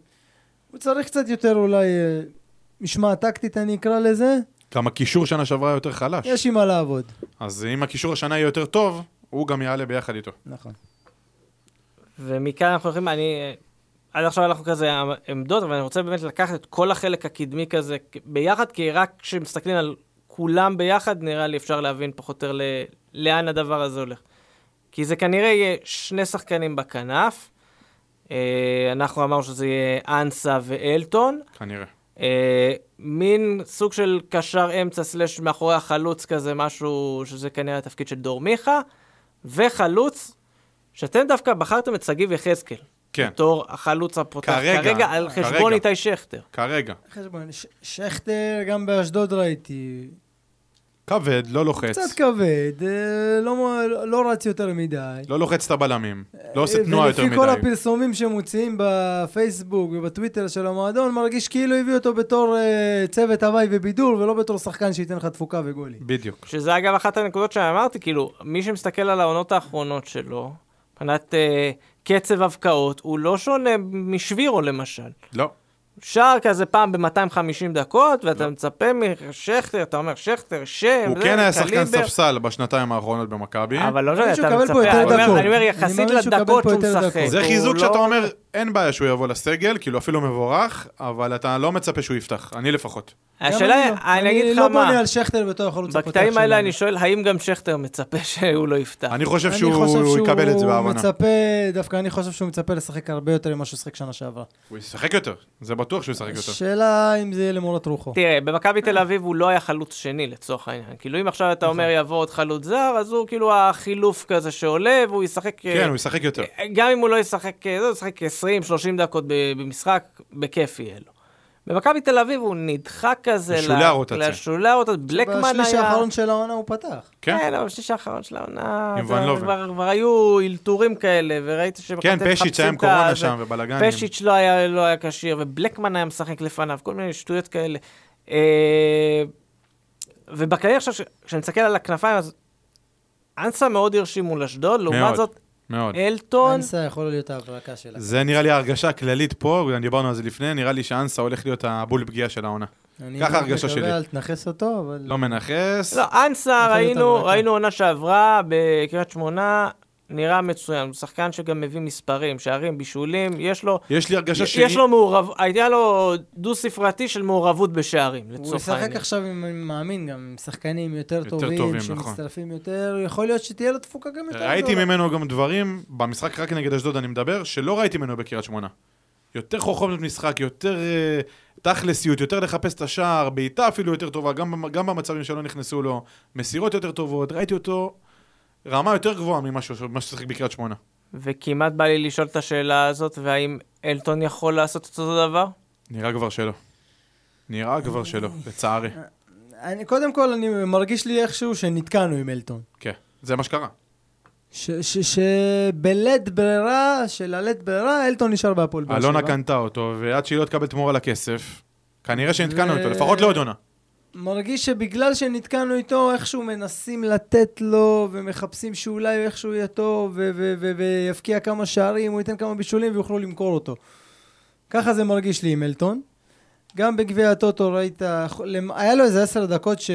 Speaker 3: הוא צריך קצת יותר אולי אה, משמעת טקטית, אני אקרא לזה.
Speaker 2: גם הקישור שנה שעברה היה יותר חלש.
Speaker 3: יש עם מה לעבוד.
Speaker 2: אז אם הקישור השנה יהיה יותר טוב, הוא גם יעלה ביחד איתו.
Speaker 3: נכון.
Speaker 1: ומכאן אנחנו הולכים, אני... עד עכשיו אנחנו כזה עמדות, אבל אני רוצה באמת לקחת את כל החלק הקדמי כזה ביחד, כי רק כשמסתכלים על כולם ביחד, נראה לי אפשר להבין פחות או יותר ל- לאן הדבר הזה הולך. כי זה כנראה יהיה שני שחקנים בכנף. אה, אנחנו אמרנו שזה יהיה אנסה ואלטון.
Speaker 2: כנראה.
Speaker 1: אה, מין סוג של קשר אמצע סלש מאחורי החלוץ כזה, משהו שזה כנראה התפקיד של דור מיכה, וחלוץ, שאתם דווקא בחרתם את שגיב יחזקאל.
Speaker 2: כן.
Speaker 1: בתור החלוץ הפותח.
Speaker 2: כרגע,
Speaker 1: כרגע, על
Speaker 2: כרגע.
Speaker 1: חשבון איתי שכטר.
Speaker 2: כרגע.
Speaker 3: חשבון, ש- שכטר גם באשדוד ראיתי.
Speaker 2: כבד, לא לוחץ.
Speaker 3: קצת כבד, אה, לא מ- לא רץ יותר מדי.
Speaker 2: לא לוחץ את הבלמים. לא עושה תנועה יותר
Speaker 3: אה, ולפי כל
Speaker 2: מדי.
Speaker 3: הפרסומים שמוציאים בפייסבוק ובטוויטר של המועדון, מרגיש כאילו הביאו אותו בתור אה, צוות הוואי ובידור, ולא בתור שחקן שייתן לך תפוקה וגולים.
Speaker 2: בדיוק.
Speaker 1: שזה אגב אחת הנקודות שאמרתי, כאילו, מי שמסתכל על העונות האחרונות שלו, מבחינת אה, קצב הבקעות, הוא לא שונה משבירו למשל.
Speaker 2: לא.
Speaker 1: שער כזה פעם ב-250 דקות, ואתה מצפה משכטר, אתה אומר, שכטר, שם,
Speaker 2: הוא
Speaker 1: זה,
Speaker 2: כן היה שחקן
Speaker 1: קליבר."
Speaker 2: ספסל בשנתיים האחרונות במכבי.
Speaker 1: אבל לא משנה,
Speaker 3: מאמין שהוא
Speaker 1: אתה
Speaker 3: יקבל פה
Speaker 1: מצפה,
Speaker 3: יותר
Speaker 1: אני אומר-
Speaker 2: דקות.
Speaker 1: אני אומר,
Speaker 3: אני
Speaker 1: יחסית
Speaker 3: מאמין שהוא יקבל
Speaker 1: לדקות
Speaker 3: פה
Speaker 1: שהוא
Speaker 3: יותר
Speaker 1: משחק.
Speaker 3: דקות.
Speaker 2: זה
Speaker 1: הוא
Speaker 2: חיזוק
Speaker 1: לא-
Speaker 2: שאתה אומר, אין בעיה שהוא יבוא לסגל, כאילו אפילו מבורך, אבל אתה לא מצפה שהוא יפתח, אני לפחות.
Speaker 1: השאלה,
Speaker 3: גם
Speaker 1: היא- אה, אני
Speaker 3: אני
Speaker 1: אגיד
Speaker 3: לא
Speaker 1: לך
Speaker 3: בונה
Speaker 1: מה,
Speaker 3: על שכטר בתור החלוץ הפותח
Speaker 1: בקטעים האלה
Speaker 3: שלנו.
Speaker 1: אני שואל, האם גם שכטר מצפה שהוא לא יפתח?
Speaker 2: אני חושב
Speaker 3: אני
Speaker 2: שהוא יקבל את זה בהבנה.
Speaker 3: מצפה, דווקא אני חושב שהוא מצפה לשחק הרבה יותר ממה שהוא שחק שנה שעברה.
Speaker 2: הוא ישחק יותר, זה בטוח שהוא ישחק יותר.
Speaker 3: השאלה אם זה יהיה למורת רוחו.
Speaker 1: תראה, במכבי תל אביב הוא לא היה חלוץ שני לצורך העניין. כאילו אם עכשיו
Speaker 2: נכון.
Speaker 1: אתה אומר יבוא עוד חלוץ זר, אז הוא כאילו החילוף כזה שעולה, והוא ישחק...
Speaker 2: כן, הוא ישחק יותר.
Speaker 1: גם אם הוא לא ישחק, אה, זה, הוא ישחק 20-30 דקות ב- במשחק, בכיף יהיה לו. במכבי תל אביב הוא נדחק כזה...
Speaker 2: לשולי
Speaker 1: ל-
Speaker 2: הרוטציה.
Speaker 1: לשולי הרוטציה. בלקמן היה...
Speaker 3: בשליש האחרון של העונה הוא פתח.
Speaker 2: כן,
Speaker 1: כן, אבל בשליש האחרון של העונה...
Speaker 2: עם
Speaker 1: זה
Speaker 2: ון לובן.
Speaker 1: כבר כבר היו אלתורים כאלה, וראית שהם...
Speaker 2: כן,
Speaker 1: מחפשים-
Speaker 2: פשיץ' היה עם
Speaker 1: אוקיי, מחפשים את
Speaker 2: קורונה
Speaker 1: הזה.
Speaker 2: שם ובלאגנים.
Speaker 1: פשיץ' לא היה, לא היה כשיר, ובלקמן היה משחק לפניו, כל מיני שטויות כאלה. אה, ובכללי עכשיו, ש- כשאני מסתכל על הכנפיים, אז אנסה מאוד הרשים מול אשדוד, לעומת
Speaker 2: מאוד.
Speaker 1: זאת,
Speaker 2: מאוד.
Speaker 1: אה, אלטון,
Speaker 3: אנסה יכול להיות ההברקה שלה.
Speaker 2: זה נראה לי ההרגשה הכללית פה, גם דיברנו על זה לפני, נראה לי שאנסה הולך להיות הבול פגיעה של העונה.
Speaker 3: אני
Speaker 2: ככה ההרגשה שלי.
Speaker 3: מקווה, אל תנכס אותו, אבל...
Speaker 2: לא מנכס,
Speaker 1: לא, אנסה
Speaker 3: יכול להיות לא כן.
Speaker 1: ראינו,
Speaker 3: הברקה.
Speaker 1: ראינו עונה שעברה בקריית שמונה, נראה מצוין, הוא שחקן שגם מביא מספרים, שערים, בישולים, יש לו...
Speaker 2: יש לי הרגשה ש...
Speaker 1: יש לו מעורב, היה לו דו-ספרתי של מעורבות בשערים,
Speaker 3: הוא
Speaker 1: לצורך
Speaker 3: ישחק
Speaker 1: העניין.
Speaker 3: עכשיו עם, אני מאמין, גם עם שחקנים יותר
Speaker 2: יותר
Speaker 3: טובים,
Speaker 2: טובים, נכון.
Speaker 3: שמצטרפים יותר, יכול להיות שתהיה לו תפוקה גם יותר
Speaker 2: ראיתי
Speaker 3: גדולה.
Speaker 2: ממנו גם דברים, במשחק רק נגד אשדוד אני מדבר, שלא ראיתי ממנו בקריית שמונה. יותר חוכמת משחק, יותר אה, תכלסיות, יותר לחפש את השער, בעיטה אפילו יותר טובה, גם, במ- גם במצבים שלא נכנסו לו, מסירות יותר טובות, ראיתי אותו רמה יותר גבוהה ממה שהוא- ממה ששיחק בקריית שמונה.
Speaker 1: וכמעט בא לי לשאול את השאלה הזאת, והאם אלטון יכול לעשות את אותו דבר?
Speaker 2: נראה כבר שלא. נראה כבר שלא, לצערי.
Speaker 3: אני, קודם כל, אני מרגיש לי איכשהו שנתקענו עם אלטון.
Speaker 2: כן, זה מה שקרה.
Speaker 3: ש- ש- שבלית ברירה, של הלית ברירה, אלטון נשאר בהפועל באר שבע.
Speaker 2: אלונה קנתה אותו, ועד שהיא לא תקבל תמור על הכסף, כנראה שנתקענו
Speaker 3: ו-
Speaker 2: איתו, לפחות לא עוד עונה.
Speaker 3: מרגיש שבגלל שנתקענו איתו, איכשהו מנסים לתת לו, ומחפשים שאולי הוא איכשהו יהיה טוב, ו- ו- ו- ויבקיע כמה שערים, הוא ייתן כמה בישולים ויוכלו למכור אותו. ככה זה מרגיש לי עם אלטון. גם בגביע הטוטו ראית, למ- היה לו איזה עשר דקות ש...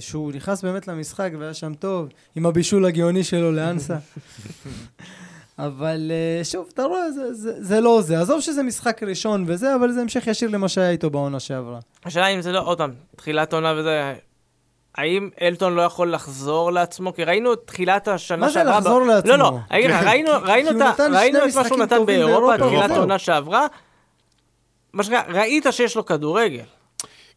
Speaker 3: שהוא נכנס באמת למשחק והיה שם טוב, עם הבישול הגאוני שלו לאנסה. אבל אה, שוב, אתה רואה, זה, זה, זה לא זה. עזוב שזה משחק ראשון וזה, אבל זה המשך ישיר למה שהיה איתו בעונה שעברה.
Speaker 1: השאלה אם זה לא, עוד פעם, תחילת עונה וזה, האם אלטון לא יכול לחזור לעצמו? כי ראינו את תחילת השנה
Speaker 3: מה זה
Speaker 1: שעברה...
Speaker 3: לחזור
Speaker 1: ב-
Speaker 3: לעצמו?
Speaker 1: לא, לא, אני אגיד לך,
Speaker 2: כן.
Speaker 1: ראינו, ראינו,
Speaker 3: כי
Speaker 1: את,
Speaker 3: הוא
Speaker 1: ה-
Speaker 3: נתן
Speaker 1: ראינו
Speaker 3: שני
Speaker 1: את מה שהוא
Speaker 3: משחקים
Speaker 1: נתן
Speaker 3: טובים
Speaker 1: באירופה,
Speaker 3: באירופה, לא.
Speaker 1: תחילת
Speaker 2: זהו.
Speaker 1: העונה שעברה. מה שנקרא, ראית שיש לו כדורגל.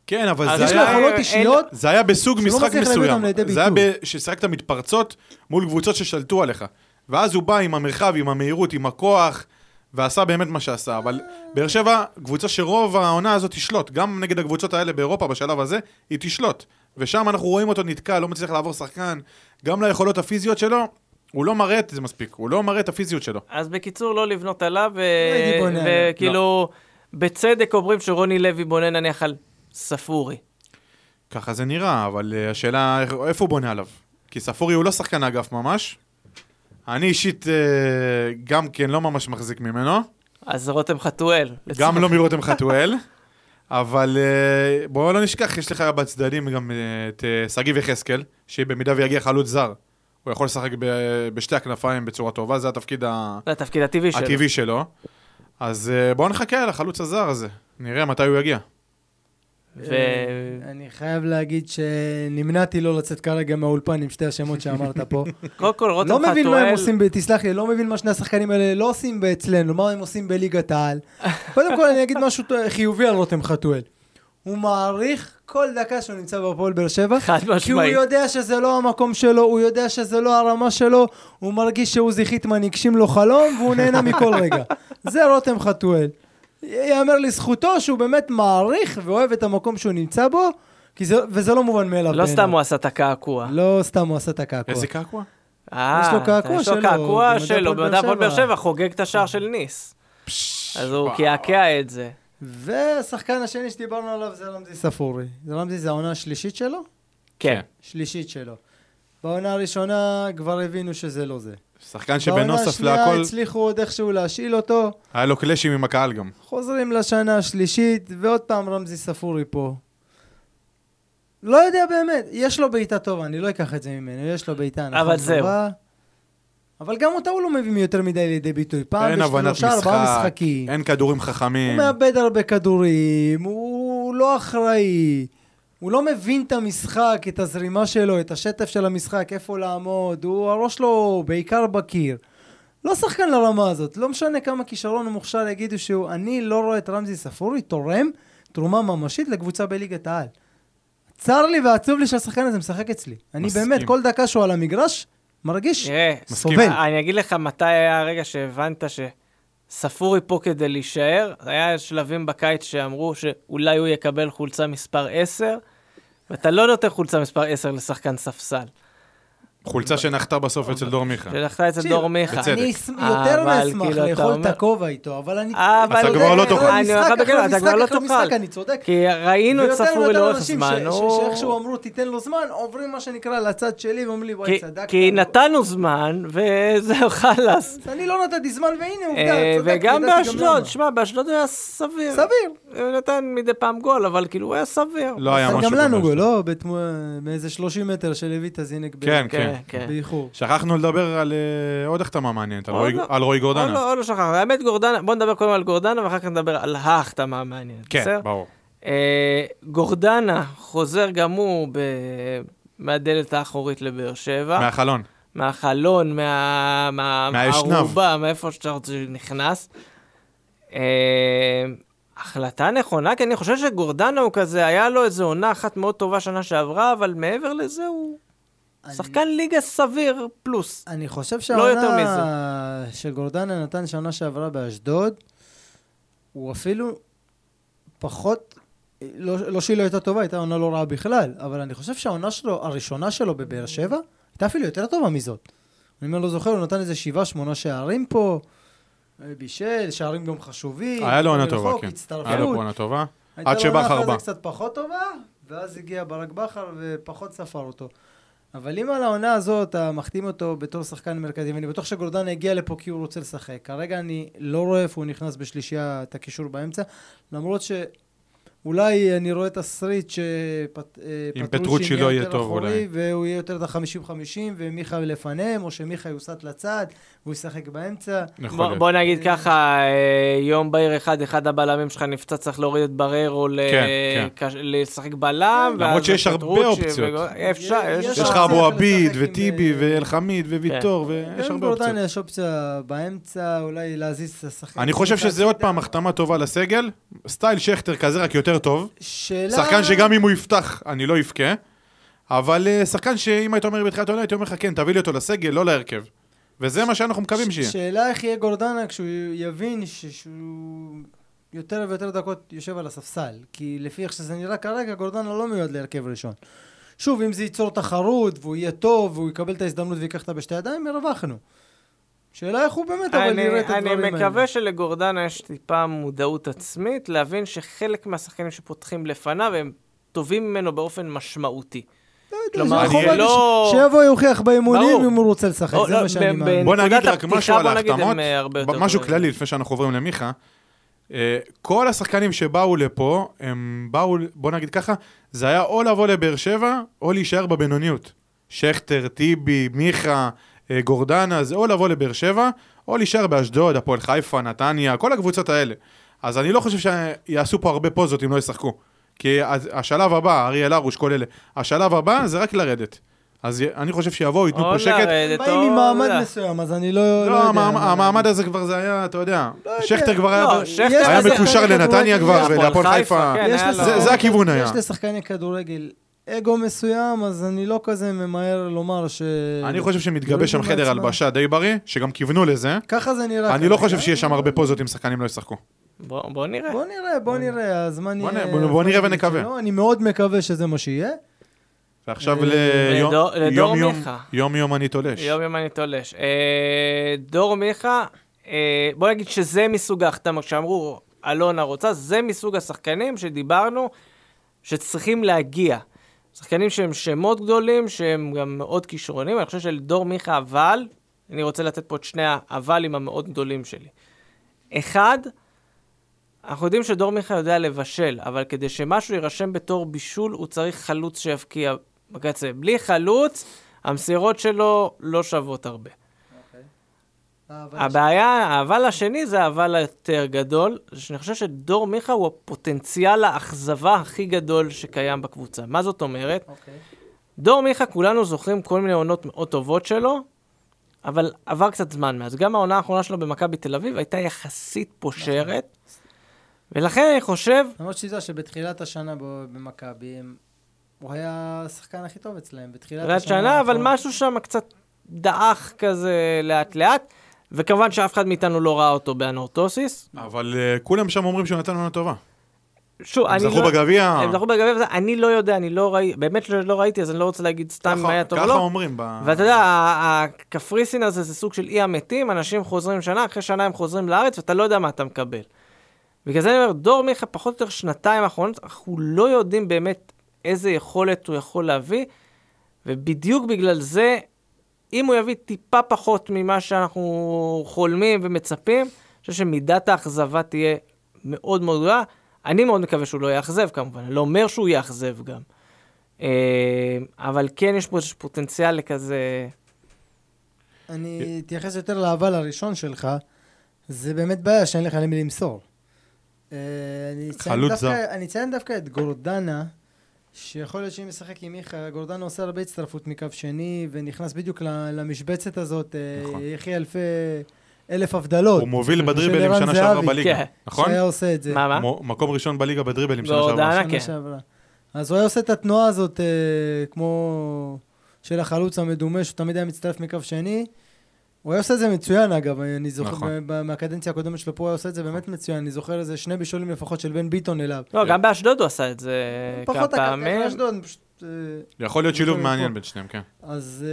Speaker 2: כן, אבל
Speaker 1: אז
Speaker 2: זה
Speaker 3: יש
Speaker 2: היה...
Speaker 3: לו
Speaker 1: היה-
Speaker 3: יכולות
Speaker 1: אין-
Speaker 3: אישיות,
Speaker 2: זה היה בסוג
Speaker 3: שהוא לא
Speaker 2: משחק
Speaker 3: מצליח להביא
Speaker 2: מסוים.
Speaker 3: אותם לידי
Speaker 2: זה היה
Speaker 3: ביטוי.
Speaker 2: ב- ששיחקת מתפרצות מול קבוצות ששלטו עליך. ואז הוא בא עם המרחב, עם המהירות, עם הכוח, ועשה באמת מה שעשה. אבל באר שבע, קבוצה שרוב העונה הזאת תשלוט. גם נגד הקבוצות האלה באירופה בשלב הזה, היא תשלוט. ושם אנחנו רואים אותו נתקע, לא מצליח לעבור שחקן. גם ליכולות הפיזיות שלו, הוא לא מראה את זה מספיק, הוא לא מראה את הפיזיות שלו.
Speaker 1: אז בקיצור, לא לבנות עליו, ו-
Speaker 3: הייתי בונה עליו. לא.
Speaker 1: וכאילו, בצדק אומרים שרוני לוי בונה נניח על ספורי.
Speaker 2: ככה זה נראה, אבל אה, השאלה איך- איפה הוא בונה עליו? כי ספורי הוא לא שחקן אגף ממש. אני אישית אה, גם כן לא ממש מחזיק ממנו,
Speaker 1: אז רותם חתואל.
Speaker 2: גם
Speaker 1: לצורך-
Speaker 2: לא מרותם חתואל, אבל אה, בואו לא נשכח, יש לך בצדדים גם אה, את אה, שגיב יחזקאל, שבמידה ויגיע חלוץ זר, הוא יכול לשחק ב- בשתי הכנפיים בצורה טובה, זה התפקיד ה-
Speaker 1: זה התפקיד הטבעי שלו.
Speaker 2: הטבעי שלו. אז אה, בואו נחכה לחלוץ הזר הזה, נראה מתי הוא יגיע.
Speaker 1: ו...
Speaker 3: אה, אני חייב להגיד שנמנעתי לא לצאת כרגע מהאולפן עם שתי השמות שאמרת פה.
Speaker 1: קודם כל, רותם
Speaker 3: לא
Speaker 1: חתואל...
Speaker 3: מבין מה הם עושים, ב- תסלח לי, לא מבין מה שני השחקנים האלה לא עושים אצלנו, מה הם עושים בליגת העל. קודם כל אני אגיד משהו ט- חיובי על רותם חתואל. הוא מעריך כל דקה שהוא נמצא בהפועל באר שבע.
Speaker 1: חד
Speaker 3: כי הוא
Speaker 1: משמעית.
Speaker 3: יודע שזה לא המקום שלו, הוא יודע שזה לא הרמה שלו, הוא מרגיש שעוזי חיטמן הגשים לו חלום והוא נהנה מכל רגע. זה רותם חתואל. ייאמר לזכותו שהוא באמת מעריך ואוהב את המקום שהוא נמצא בו, כי זה, וזה לא מובן מאליו.
Speaker 1: לא
Speaker 3: בעיניי.
Speaker 1: סתם הוא עשה את הקעקוע.
Speaker 3: לא סתם הוא עשה את הקעקוע.
Speaker 2: איזה קעקוע?
Speaker 1: אה,
Speaker 3: יש לו קעקוע
Speaker 1: יש לו
Speaker 3: שלו,
Speaker 1: קעקוע
Speaker 3: במדע
Speaker 1: שלו,
Speaker 3: הפועל
Speaker 1: במדע הפועל
Speaker 3: באר
Speaker 1: באר
Speaker 3: שבע.
Speaker 1: שבע, חוגג את השער של ניס. אז הוא
Speaker 2: וואו.
Speaker 1: קעקע את זה.
Speaker 3: והשחקן השני שדיברנו עליו זה רמזי ספורי. זה רמזי זה העונה השלישית שלו?
Speaker 1: כן.
Speaker 3: שלישית שלו. בעונה הראשונה כבר הבינו שזה לא זה.
Speaker 2: שחקן
Speaker 3: בעונה
Speaker 2: שבנוסף
Speaker 3: השנייה
Speaker 2: להכל,
Speaker 3: הצליחו עוד איכשהו להשאיל אותו.
Speaker 2: היה לו קלאשים עם הקהל גם.
Speaker 3: חוזרים לשנה השלישית, ועוד פעם רמזי ספורי פה. לא יודע באמת, יש לו בעיטה טובה, אני לא אקח את זה ממנו, יש לו בעיטה הנחה
Speaker 1: אבל זהו.
Speaker 3: טובה. אבל גם אותה הוא לא מביא יותר מדי לידי ביטוי. פעם
Speaker 2: אין הבנת
Speaker 3: בשלושה, ארבעה
Speaker 2: משחק,
Speaker 3: משחקים.
Speaker 2: אין כדורים
Speaker 3: הוא
Speaker 2: חכמים.
Speaker 3: מאבד הרבה כדורים, הוא לא אחראי, הוא לא מבין את המשחק, את הזרימה שלו, את השטף של המשחק, איפה לעמוד, הוא, הראש שלו בעיקר בקיר. לא שחקן לרמה הזאת, לא משנה כמה כישרון הוא מוכשר יגידו שהוא, אני לא רואה את רמזי ספורי תורם תרומה ממשית לקבוצה בליגת העל. צר לי ועצוב לי שהשחקן הזה משחק אצלי. אני
Speaker 2: מסכים.
Speaker 3: באמת, כל דקה שהוא על המגרש, מרגיש
Speaker 1: תראה,
Speaker 2: מסכים.
Speaker 3: סובל.
Speaker 1: אני אגיד לך מתי היה הרגע שהבנת שספורי פה כדי להישאר. היה שלבים בקיץ שאמרו שאולי הוא יקבל חולצה מספר 10, ואתה לא נותן חולצה מספר 10 לשחקן ספסל.
Speaker 2: כן. חולצה שנחתה בסוף אצל דור מיכה.
Speaker 1: שלחתה אצל
Speaker 3: תקשיב,
Speaker 1: דור מיכה.
Speaker 2: בצדק.
Speaker 3: אני אס- יותר
Speaker 1: אבל
Speaker 3: מאשמח
Speaker 1: כאילו, אתה
Speaker 3: לאכול את
Speaker 1: אומר- אה,
Speaker 3: הכובע איתו, אבל אני...
Speaker 1: אבל... כאילו,
Speaker 2: אתה כבר לא
Speaker 3: אחרי
Speaker 2: תאכל.
Speaker 1: אני אומר
Speaker 3: משחק,
Speaker 1: לך בכלל,
Speaker 3: אחרי
Speaker 1: אתה כבר
Speaker 3: משחק,
Speaker 1: לא
Speaker 3: אחרי משחק,
Speaker 1: תאכל.
Speaker 3: אני צודק.
Speaker 1: כי ראינו את ספורי לאורך זמן. הוא-
Speaker 3: שאיכשהו אמרו, תיתן לו זמן, עוברים מה שנקרא לצד שלי, ואומרים לי, וואי,
Speaker 1: כי-
Speaker 3: צדקת.
Speaker 1: כי נתנו זמן, וזהו, חלאס.
Speaker 3: אז אני לא נתתי זמן, והנה, עובדה,
Speaker 1: אה,
Speaker 3: צדקתי,
Speaker 1: וגם
Speaker 3: ידעתי למה.
Speaker 1: באשדוד, שמע, באשדוד היה סביר.
Speaker 3: סביר.
Speaker 1: הוא נתן מדי פעם גול, אבל כאילו הוא היה סביר.
Speaker 2: לא היה
Speaker 3: אבל
Speaker 2: משהו
Speaker 3: גם לנו
Speaker 2: גדול.
Speaker 3: גול, לא? בתמו- מאיזה 30 מטר שלוי תזינק ב-
Speaker 2: כן,
Speaker 1: כן,
Speaker 2: כן.
Speaker 1: כן.
Speaker 3: באיחור.
Speaker 2: שכחנו לדבר על אה, עוד החתמה מעניינת, על
Speaker 1: עוד
Speaker 2: רועי-
Speaker 1: לא.
Speaker 2: על רועי
Speaker 1: או
Speaker 2: גורדנה.
Speaker 1: לא, או לא שכחנו. האמת, גורדנה, בוא נדבר קודם על גורדנה, ואחר כך נדבר על ההחתמה המעניינת. בסדר?
Speaker 2: כן, ברור.
Speaker 1: אה, גורדנה חוזר גם הוא ב... מהדלת האחורית לבאר שבע.
Speaker 2: מהחלון.
Speaker 1: מהחלון, מה... מה...
Speaker 2: מהאשנב.
Speaker 1: מהערובה, מאיפה שאתה רוצה נכנס. אה, החלטה נכונה, כי אני חושב שגורדנה הוא כזה, היה לו איזו עונה אחת מאוד טובה שנה שעברה, אבל מעבר לזה הוא שחקן ליגה סביר פלוס.
Speaker 3: אני חושב
Speaker 1: לא יותר
Speaker 3: שהעונה שגורדנה נתן שנה שעברה באשדוד, הוא אפילו פחות, לא, לא שהיא לא הייתה טובה, הייתה עונה לא רעה בכלל, אבל אני חושב שהעונה שלו, הראשונה שלו בבאר שבע, הייתה אפילו יותר טובה מזאת. אם אני לא זוכר, הוא נתן איזה שבעה, שמונה שערים פה, אה, בישל, שערים גם חשובים.
Speaker 2: היה לו עונה
Speaker 3: מרחוק,
Speaker 2: טובה, כן. היה לו
Speaker 3: אה, הצטרפות.
Speaker 2: פה עונה טובה.
Speaker 3: הייתה
Speaker 2: עד
Speaker 3: לו
Speaker 2: שבכר
Speaker 3: עונה אחרי
Speaker 2: בא.
Speaker 3: זה קצת פחות טובה, ואז הגיע ברק בכר ופחות ספר אותו. אבל אם על העונה הזאת אתה מחתים אותו בתור שחקן מרכזי, ואני בטוח שגורדן הגיע לפה כי הוא רוצה לשחק. כרגע אני לא רואה איפה הוא נכנס בשלישייה את הקישור באמצע, למרות שאולי אני רואה תסריט
Speaker 2: אם
Speaker 3: שפטרוצ'י
Speaker 2: פטרוצ'י לא יהיה טוב, אולי.
Speaker 3: והוא יהיה יותר את ה-50-50, ומיכה לפניהם, או שמיכה יוסט לצד, והוא ישחק באמצע.
Speaker 2: יכול
Speaker 1: בוא,
Speaker 2: להיות.
Speaker 1: בוא נגיד ככה, אה, יום בהיר אחד, אחד הבלמים שלך נפצע, צריך להוריד את בררו ל...
Speaker 2: כן, כן.
Speaker 1: קש- לשחק בלם.
Speaker 2: למרות
Speaker 1: ואז
Speaker 2: שיש הרבה
Speaker 1: פטרוצ'י
Speaker 2: אופציות.
Speaker 1: וגול- אפשר,
Speaker 3: יש-
Speaker 1: יש...
Speaker 2: יש לך
Speaker 3: אה,
Speaker 2: אבו
Speaker 3: צריך
Speaker 2: עביד
Speaker 3: לשחק עם,
Speaker 2: וטיבי
Speaker 3: אה, כן.
Speaker 2: ואלחמיד וויטור, ויש
Speaker 3: גם
Speaker 2: הרבה אופציות.
Speaker 3: גורדן יש אופציה באמצע, אולי להזיז את השחקן.
Speaker 2: אני חושב שזה עוד פעם החתמה טובה לסגל. סטייל שכטר כזה רק יותר טוב.
Speaker 3: שאלה...
Speaker 2: שחקן שגם אם הוא יפתח, אני לא אבכה. אבל אה, שחקן שאם היית אומר לי בתחילת העונה, הייתי אומר לך, כן, תביא לי אותו לסגל, לא להרכב. וזה מה שאנחנו מקווים שיהיה.
Speaker 3: שאלה איך יהיה גורדנה כשהוא יבין ש- שהוא יותר ויותר דקות יושב על הספסל. כי לפי איך שזה נראה כרגע, גורדנה לא מיועד להרכב ראשון. שוב, אם זה ייצור תחרות, והוא יהיה טוב, והוא יקבל את ההזדמנות ויקח אותה בשתי ידיים, הרווחנו. שאלה איך הוא באמת, אבל
Speaker 1: אני,
Speaker 3: נראה את הדברים
Speaker 1: אני
Speaker 3: האלה.
Speaker 1: מקווה שלגורדנה יש טיפה מודעות עצמית, להבין שחלק מהשחקנים שפותחים לפניו הם טובים ממנו באופן משמעותי. כלומר,
Speaker 3: כלומר,
Speaker 2: אני
Speaker 1: לא-
Speaker 3: שיבוא יוכיח באימונים
Speaker 1: ברור.
Speaker 3: אם הוא רוצה לשחק,
Speaker 1: או,
Speaker 3: זה
Speaker 1: לא,
Speaker 3: מה שאני
Speaker 1: ב-
Speaker 3: מאמין.
Speaker 1: ב-
Speaker 2: בוא נגיד
Speaker 1: נקודת
Speaker 2: רק
Speaker 1: הפתיחה,
Speaker 2: משהו על
Speaker 1: בוא נגיד, הם,
Speaker 2: ההחתמות,
Speaker 1: אה, הרבה
Speaker 2: ב-
Speaker 1: יותר
Speaker 2: משהו
Speaker 1: טובים.
Speaker 2: כללי לפני שאנחנו עוברים למיכה. אה, כל השחקנים שבאו לפה, הם באו, בוא נגיד ככה, זה היה או לבוא לבאר שבע, או להישאר בבינוניות. שכטר, טיבי, מיכה, אה, גורדנה, זה או לבוא לבאר שבע, או להישאר באשדוד, הפועל חיפה, נתניה, כל הקבוצות האלה. אז אני לא חושב שיעשו פה הרבה פוזות אם לא ישחקו. כי אז- השלב הבא, אריאל הרוש, כל אלה, השלב הבא זה רק לרדת. אז י- אני חושב שיבואו, ייתנו
Speaker 1: או
Speaker 2: פה שקט,
Speaker 1: לרדת,
Speaker 3: באים
Speaker 1: או-
Speaker 3: ממעמד
Speaker 1: לא.
Speaker 3: מסוים, אז אני לא
Speaker 2: לא,
Speaker 3: יודע.
Speaker 2: המעמד- המעמד הזה כבר זה היה, אתה יודע,
Speaker 3: יודע.
Speaker 2: שכטר כבר היה...
Speaker 1: לא,
Speaker 2: ב-
Speaker 1: ש-
Speaker 3: יש
Speaker 1: היה
Speaker 3: לשחקני
Speaker 2: מקושר
Speaker 3: כדורגל-
Speaker 2: לנתניה כבר,
Speaker 3: יש-
Speaker 1: הפועל
Speaker 2: ולהפועל חיפה.
Speaker 1: כן,
Speaker 3: יש
Speaker 1: היה לו-
Speaker 2: זה- זה הכיוון היה.
Speaker 3: יש לשחקני כדורגל אגו מסוים, אז אני לא כזה ממהר לומר ש...
Speaker 2: אני חושב שמתגבש שם
Speaker 3: לא
Speaker 2: חדר
Speaker 3: יודעים
Speaker 2: הלבשה די בריא, שגם כיוונו לזה.
Speaker 3: ככה זה נראה.
Speaker 2: אני לא
Speaker 3: כרגע.
Speaker 2: חושב שיש שם הרבה פוזות אם שחקנים לא ישחקו.
Speaker 1: בוא בוא נראה.
Speaker 3: בוא נראה, בוא נראה, הזמן
Speaker 2: בוא
Speaker 3: יהיה...
Speaker 2: נראה, בוא- בוא נראה
Speaker 3: הזמן
Speaker 2: ונקווה.
Speaker 3: יגיד שלא, אני מאוד מקווה שזה מה שיהיה.
Speaker 2: ועכשיו
Speaker 3: אה,
Speaker 1: לדור- לדור מיכה.
Speaker 2: ליום יום אני תולש.
Speaker 1: יום יום אני תולש. אה, דור מיכה, אה, בוא נגיד שזה מסוג ההחתמות, כשאמרו אלונה רוצה, זה מסוג השחקנים שדיברנו, שצריכים להגיע. שחקנים שהם שמות גדולים, שהם גם מאוד כישרונים, אני חושב שלדור מיכה אבל, אני רוצה לתת פה את שני האבלים המאוד גדולים שלי. אחד, אנחנו יודעים שדור מיכה יודע לבשל, אבל כדי שמשהו יירשם בתור בישול, הוא צריך חלוץ שיבקיע בקצב. בלי חלוץ, המסירות שלו לא שוות הרבה. הבעיה, האבל השני זה האבל היותר גדול, שאני חושב שדור מיכה הוא הפוטנציאל האכזבה הכי גדול שקיים בקבוצה. מה זאת אומרת?
Speaker 3: אוקיי.
Speaker 1: דור מיכה, כולנו זוכרים כל מיני עונות מאוד טובות שלו, אבל עבר קצת זמן מאז. גם העונה האחרונה שלו במכבי תל אביב הייתה יחסית פושרת, ולכן אני חושב
Speaker 3: למרות שתדע שבתחילת השנה ב- במכבי, הם- הוא היה השחקן הכי טוב אצלהם. בתחילת השנה.
Speaker 1: תחילת שנה, אבל
Speaker 3: האחרונה.
Speaker 1: משהו שם קצת דעך כזה לאט-לאט, וכמובן שאף אחד מאיתנו לא ראה אותו באנורטוסיס.
Speaker 2: אבל אה, כולם שם אומרים שהוא נתן עונה טובה.
Speaker 1: שוב,
Speaker 2: הם
Speaker 1: אני
Speaker 2: זכו
Speaker 1: לא...
Speaker 2: בגביע.
Speaker 1: הם זכו בגביע, וזה- אני לא יודע, אני לא ראיתי, באמת שלא ראיתי, אז אני לא רוצה להגיד סתם אם
Speaker 2: ככה-
Speaker 1: היה טוב או
Speaker 2: נכון, ככה
Speaker 1: לא.
Speaker 2: אומרים. ב-
Speaker 1: ואתה יודע, ה- הקפריסין הזה זה סוג של אי המתים, אנשים חוזרים שנה, אחרי שנה הם חוזרים לארץ, ואתה לא יודע מה אתה מקבל. בגלל זה אני אומר, דור מיכה פחות או יותר שנתיים האחרונות, אנחנו לא יודעים באמת איזה יכולת הוא יכול להביא, ובדיוק בגלל זה, אם הוא יביא טיפה פחות ממה שאנחנו חולמים ומצפים, אני חושב שמידת האכזבה תהיה מאוד מאוד גדולה. אני מאוד מקווה שהוא לא יאכזב כמובן, אני לא אומר שהוא יאכזב גם. אה, אבל כן יש פה איזשהו פוטנציאל לכזה...
Speaker 3: אני אתייחס יותר לאבל הראשון שלך, זה באמת בעיה שאין לך למי למסור. אה, אני אציין
Speaker 2: חלוץ
Speaker 3: דווקא-
Speaker 2: זר.
Speaker 3: אני אציין דווקא את גורדנה, שיכול להיות שאם ישחק עם מיכה, גורדנה עושה הרבה הצטרפות מקו שני, ונכנס בדיוק ל- למשבצת הזאת, אה,
Speaker 2: נכון.
Speaker 3: יחי אלפי... אלף הבדלות.
Speaker 2: הוא מוביל
Speaker 3: של
Speaker 2: בדריבלים
Speaker 3: ערן
Speaker 2: שנה שעברה
Speaker 3: זהבי.
Speaker 2: בליגה,
Speaker 1: כן.
Speaker 2: נכון?
Speaker 3: שהיה עושה את זה.
Speaker 1: מה, מה?
Speaker 2: מו- מקום ראשון בליגה בדריבלים שנה
Speaker 1: גורדנה.
Speaker 2: שעברה.
Speaker 3: שנה
Speaker 1: כן.
Speaker 3: שעברה. אז הוא היה עושה את התנועה הזאת אה, כמו של החלוץ המדומה, שהוא תמיד היה מצטרף מקו שני. הוא היה עושה את זה מצוין אגב, אני זוכר,
Speaker 2: נכון.
Speaker 3: ב- ב- מהקדנציה הקודמת שלו פה הוא היה עושה את זה באמת מצוין, אני זוכר איזה שני בישולים לפחות של בן ביטון אליו.
Speaker 1: לא, גם באשדוד הוא עשה את זה אה, כמה
Speaker 3: פחות לקחתי
Speaker 1: פעמים.
Speaker 3: אחרי אשדוד, פשוט... אה,
Speaker 2: יכול להיות שילוב
Speaker 3: פה.
Speaker 2: מעניין בין שניהם, כן.
Speaker 3: אז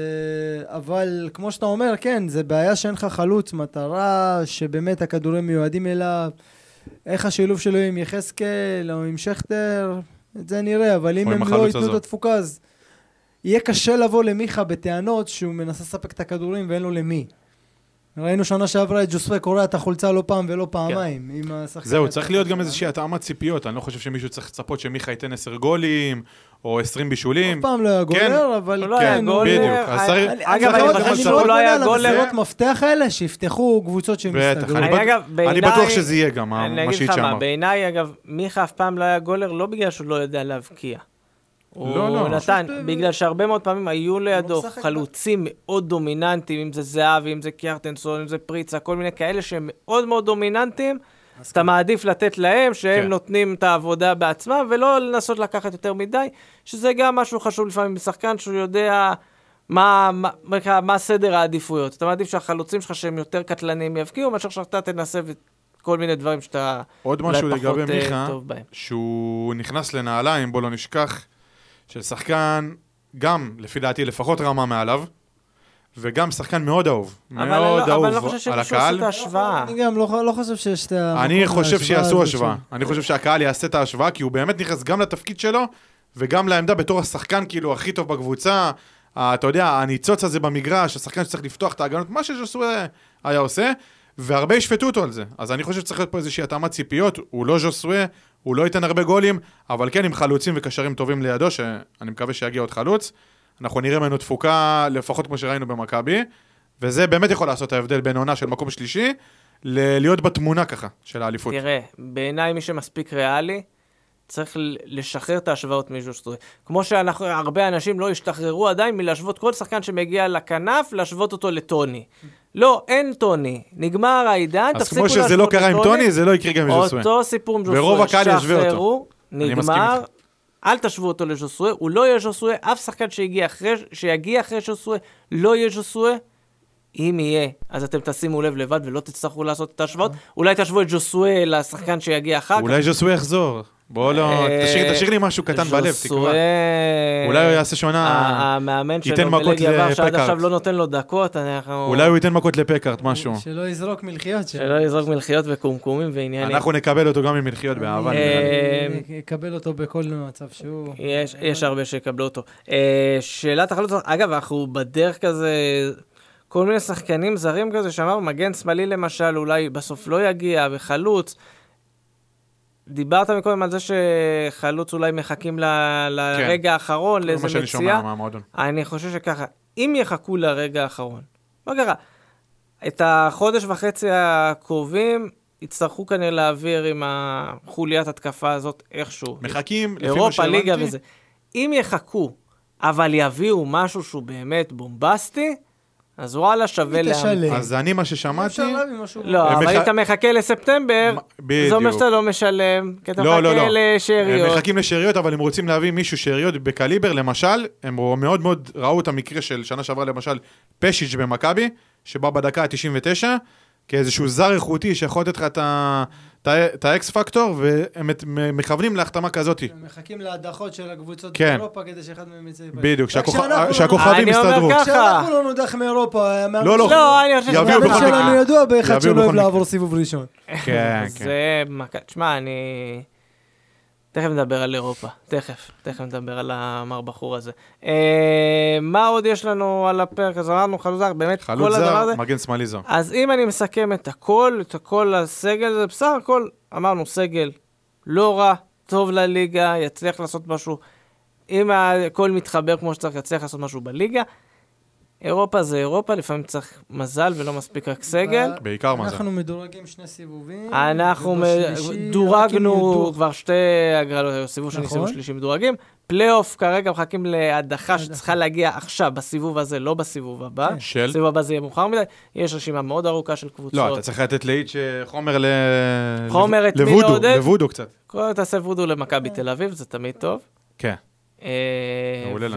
Speaker 3: אה, אבל כמו שאתה אומר, כן, זה בעיה שאין לך חלוץ מטרה, שבאמת הכדורים מיועדים אליו. איך השילוב שלו עם יחזקאל או עם שכטר, את זה נראה, אבל אם
Speaker 2: או עם
Speaker 3: הם לא
Speaker 2: החלוץ
Speaker 3: ייתנו
Speaker 2: הזו.
Speaker 3: את התפוקה, אז יהיה קשה לבוא למיכה בטענות שהוא מנסה לספק את הכדורים ואין לו למי. ראינו שנה שעברה את ג'וסווה קורע את החולצה לא פעם ולא פעמיים. עם השחקן
Speaker 2: כן. זהו,
Speaker 3: הזה.
Speaker 2: צריך להיות גם איזושהי התאמת ציפיות. אני לא חושב שמישהו צריך לצפות שמיכה ייתן 10 גולים, או 20
Speaker 3: אף
Speaker 2: בישולים.
Speaker 3: פעם לא היה גולר,
Speaker 1: הוא
Speaker 3: אבל
Speaker 1: לא היה
Speaker 3: כן, הוא-
Speaker 1: גולר.
Speaker 2: בדיוק, אז צריך-
Speaker 1: אני-
Speaker 3: אני-
Speaker 1: אגב,
Speaker 2: צריך
Speaker 1: אני
Speaker 2: להיות
Speaker 1: חושב
Speaker 2: גם
Speaker 1: שהוא לא
Speaker 2: שלו.
Speaker 1: היה
Speaker 3: אני מאוד בונה על
Speaker 1: גולר.
Speaker 3: המסירות מפתח האלה, שיפתחו קבוצות שהם
Speaker 2: בטח,
Speaker 3: יסתגרו.
Speaker 2: אני
Speaker 1: אני אגב, בעיניי...
Speaker 2: אני בטוח שזה יהיה גם, ה-
Speaker 1: אני
Speaker 2: מה
Speaker 1: אגיד
Speaker 2: שאיצ'ה
Speaker 1: לך מה,
Speaker 2: אמר.
Speaker 1: בעיניי, אגב, מיכה אף פעם לא היה גולר לא בגלל שהוא לא יודע להבקיע. הוא
Speaker 2: לא, לא.
Speaker 1: נתן,
Speaker 3: פשוט, אה,
Speaker 1: בגלל שהרבה מאוד פעמים היו לידו
Speaker 3: משחק
Speaker 1: חלוצים מאוד דומיננטיים, אם זה זהבי, אם זה קיארטנסון, אם זה פריצה, כל מיני כאלה שהם מאוד מאוד דומיננטיים. אז אתה מעדיף לתת להם, שהם
Speaker 2: כן.
Speaker 1: נותנים את העבודה בעצמם, ולא לנסות לקחת יותר מדי, שזה גם משהו חשוב לפעמים בשחקן, שהוא יודע מה, מה, מה, נקרא, מה סדר העדיפויות. אתה מעדיף שהחלוצים שלך, שהם יותר קטלניים, יבקיעו, מאשר שאתה תנסה וכל מיני דברים שאתה
Speaker 2: עוד
Speaker 1: אולי
Speaker 2: משהו
Speaker 1: פחות
Speaker 2: לגבי
Speaker 1: אה,
Speaker 2: מיכה,
Speaker 1: טוב בהם.
Speaker 2: שהוא נכנס לנעליים, בוא לא נשכח, של שחקן גם, לפי דעתי, לפחות רמה מעליו, וגם שחקן מאוד אהוב.
Speaker 1: אבל אני
Speaker 2: מאוד
Speaker 1: לא- אבל אני לא
Speaker 2: אהוב
Speaker 1: חושב
Speaker 2: על
Speaker 1: שמישהו עושה
Speaker 2: הקהל.
Speaker 1: את ההשוואה.
Speaker 4: אני גם לא לא חושב שיש את ה...
Speaker 2: אני חושב שיעשו
Speaker 4: הזאת
Speaker 2: השוואה.
Speaker 4: שם.
Speaker 2: אני חושב שהקהל יעשה את ההשוואה, כי הוא באמת נכנס גם לתפקיד שלו, וגם לעמדה בתור השחקן כאילו הכי טוב בקבוצה. ה- אתה יודע, הניצוץ הזה במגרש, השחקן שצריך לפתוח את ההגנות, מה שז'וסווה היה עושה, והרבה ישפטו אותו על זה. אז אני חושב שצריך להיות פה איזושהי התאמת ציפיות, הוא לא ז'וסווה, הוא לא ייתן הרבה גולים, אבל כן עם חלוצים וקשרים טובים לידו, שאני מקווה שיגיע עוד חלוץ. אנחנו נראה ממנו תפוקה, לפחות כמו שראינו במכבי, וזה באמת יכול לעשות ההבדל בין עונה של מקום שלישי, ל- להיות בתמונה ככה, של האליפות.
Speaker 1: תראה, בעיניי מי שמספיק ריאלי, צריך ל- לשחרר את ההשוואות מז'וסטרי. כמו שאנחנו, הרבה אנשים לא השתחררו עדיין מלהשוות כל שחקן שמגיע לכנף, להשוות אותו לטוני. לא, אין טוני. נגמר העידן,
Speaker 2: אז
Speaker 1: תפסיקו
Speaker 2: כמו
Speaker 1: להשוות
Speaker 2: שזה לא קרה עם
Speaker 1: לטוני.
Speaker 2: טוני, זה לא יקרה גם עם ז'וסווה.
Speaker 1: אותו סיפור עם ז'וסווה.
Speaker 2: ורוב הקהל ישווה אותו.
Speaker 1: שחררו,
Speaker 2: אני מסכים
Speaker 1: נגמר,
Speaker 2: איתך.
Speaker 1: אל תשוו אותו לז'וסווה, הוא לא יהיה ז'וסווה, אף שחקן שיגיע אחרי, שיגיע אחרי ז'וסווה, לא יהיה ז'וסווה. אם יהיה, אז אתם תשימו לב לבד ולא תצטרכו לעשות את ההשוואות. אולי תשוו את ז'וסווה לשחקן שיגיע אחר כך.
Speaker 2: אולי ז'וסווה יחזור. בוא לא,
Speaker 1: אה,
Speaker 2: תשאיר- תשאיר לי משהו קטן בלב, תקווה.
Speaker 1: ז'וסווה-
Speaker 2: אולי הוא יעשה שונה,
Speaker 1: ה- המאמן
Speaker 2: ייתן
Speaker 1: שלו,
Speaker 2: מכות
Speaker 1: בלגיה בר, שעד
Speaker 2: לפקארט.
Speaker 1: עכשיו לא נותן לו דקות, אנחנו...
Speaker 2: אולי הוא ייתן מכות לפקארט, משהו.
Speaker 1: אה,
Speaker 3: שלא יזרוק מלחיות שם.
Speaker 1: שלא לזרוק מלחיות וקומקומים ועניינים.
Speaker 2: אנחנו נקבל אותו גם עם מלחיות באהבה.
Speaker 1: אה,
Speaker 2: נראה לי.
Speaker 3: אני אקבל אותו בכל מצב שהוא.
Speaker 1: יש, יש הרבה שיקבלו אותו. אה, שאלת החלוץ, אגב, אנחנו בדרך כזה, כל מיני שחקנים זרים כזה, שאמרנו, מגן שמאלי למשל, אולי בסוף לא יגיע, וחלוץ. דיברת מקודם על זה שחלוץ אולי מחכים ל, לרגע האחרון,
Speaker 2: כן. זה
Speaker 1: לאיזה
Speaker 2: מה שאני
Speaker 1: מציאה.
Speaker 2: שומע מהמועדון.
Speaker 1: אני חושב שככה, אם יחכו לרגע האחרון, מה קרה? את החודש וחצי הקרובים יצטרכו כנראה להעביר עם החוליית התקפה הזאת איכשהו.
Speaker 2: מחכים, לפי מה
Speaker 1: אירופה, ליגה
Speaker 2: שהבנתי,
Speaker 1: וזה. אם יחכו, אבל יביאו משהו שהוא באמת בומבסטי, אז וואלה, שווה להמ...
Speaker 4: תשלם.
Speaker 2: אז אני מה ששמעתי...
Speaker 3: אפשר להביא משהו.
Speaker 1: לא,
Speaker 2: הם
Speaker 1: אבל
Speaker 2: מח-
Speaker 1: אם אתה מחכה לספטמבר,
Speaker 2: מה-
Speaker 1: זה אומר
Speaker 2: בדיוק.
Speaker 1: שאתה לא משלם, כי אתה
Speaker 2: לא, לא,
Speaker 1: מחכה
Speaker 2: לא. הם
Speaker 1: לשאריות.
Speaker 2: מחכים לשאריות, אבל הם רוצים להביא מישהו שאריות בקליבר, למשל, הם מאוד מאוד ראו את המקרה של שנה שעברה, למשל, פשיץ' במכבי, שבא בדקה ה-99, כאיזשהו זר איכותי שיכול לתת לך את ה- את ה- את האקס פקטור, והם מת- מ- מכוונים להחתמה כזאת.
Speaker 3: הם מחכים להדחות של הקבוצות
Speaker 2: כן.
Speaker 3: באירופה כדי שאחד מהם יצא להיפגש.
Speaker 2: בדיוק,
Speaker 3: רק
Speaker 2: שהכוכ-
Speaker 3: שאנחנו לא-
Speaker 2: שהכוכבים
Speaker 1: אני אומר
Speaker 2: יסתדרו.
Speaker 1: ככה.
Speaker 3: כשאנחנו לא נודח מאירופה, המאמן
Speaker 2: לא, לא,
Speaker 1: לא, אני חושב
Speaker 2: יביאו
Speaker 1: שזה
Speaker 2: בכל
Speaker 4: הבן
Speaker 1: מחכה.
Speaker 4: שלנו
Speaker 2: מקרה.
Speaker 4: ידוע באחד
Speaker 2: יביאו
Speaker 4: שלא
Speaker 2: בכל
Speaker 4: אוהב
Speaker 2: מקרה.
Speaker 4: לעבור סיבוב ראשון.
Speaker 2: כן, כן.
Speaker 1: זה מכה... תשמע, אני... תכף נדבר על אירופה, תכף, תכף נדבר על המר בחור הזה. אה, מה עוד יש לנו על הפרק? אז אמרנו חלוץ זר, באמת,
Speaker 2: חלוץ
Speaker 1: כל הדבר הזה.
Speaker 2: זר, מגן שמאלי זר.
Speaker 1: אז אם אני מסכם את הכל, את הכל הסגל, זה בסך הכל, אמרנו, סגל לא רע, טוב לליגה, יצליח לעשות משהו, אם הכל מתחבר כמו שצריך, יצליח לעשות משהו בליגה. אירופה זה אירופה, לפעמים צריך מזל ולא מספיק רק סגל.
Speaker 2: בעיקר מה זה.
Speaker 3: אנחנו מדורגים שני סיבובים.
Speaker 1: אנחנו מ-
Speaker 3: ובשלישי רק עם
Speaker 1: דורגנו
Speaker 3: יודו-
Speaker 1: כבר שתי הגרלות, סיבוב שני,
Speaker 4: נכון.
Speaker 1: סיבוב שלישי מדורגים. פלייאוף כרגע מחכים להדחה שצריכה להגיע עכשיו, בסיבוב הזה, לא בסיבוב הבא.
Speaker 2: של?
Speaker 1: בסיבוב הבא זה יהיה מאוחר מדי. יש רשימה מאוד ארוכה של קבוצות.
Speaker 2: לא, אתה צריך לתת לאיץ' אה, חומר ל...
Speaker 1: חומר את מי
Speaker 2: לוודו,
Speaker 1: לעודד?
Speaker 2: לוודו קצת.
Speaker 1: כל תעשה וודו למכבי תל אביב, זה תמיד טוב.
Speaker 2: כן.
Speaker 1: אה,
Speaker 2: מעולה לנו.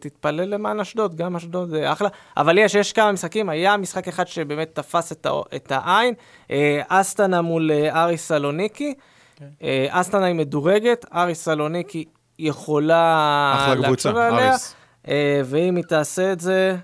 Speaker 1: ותתפלל למען אשדוד, גם אשדוד אה, אחלה. אבל יש, יש כמה משחקים, היה משחק אחד שבאמת תפס את, הא- את העין, אה, אסטנה מול אה, ארי סלוניקי. אה, אסטנה היא מדורגת, ארי סלוניקי יכולה
Speaker 2: אחלה קבוצה,
Speaker 1: להקשיב עליה,
Speaker 2: אריס.
Speaker 1: אה, ואם היא תעשה את זה,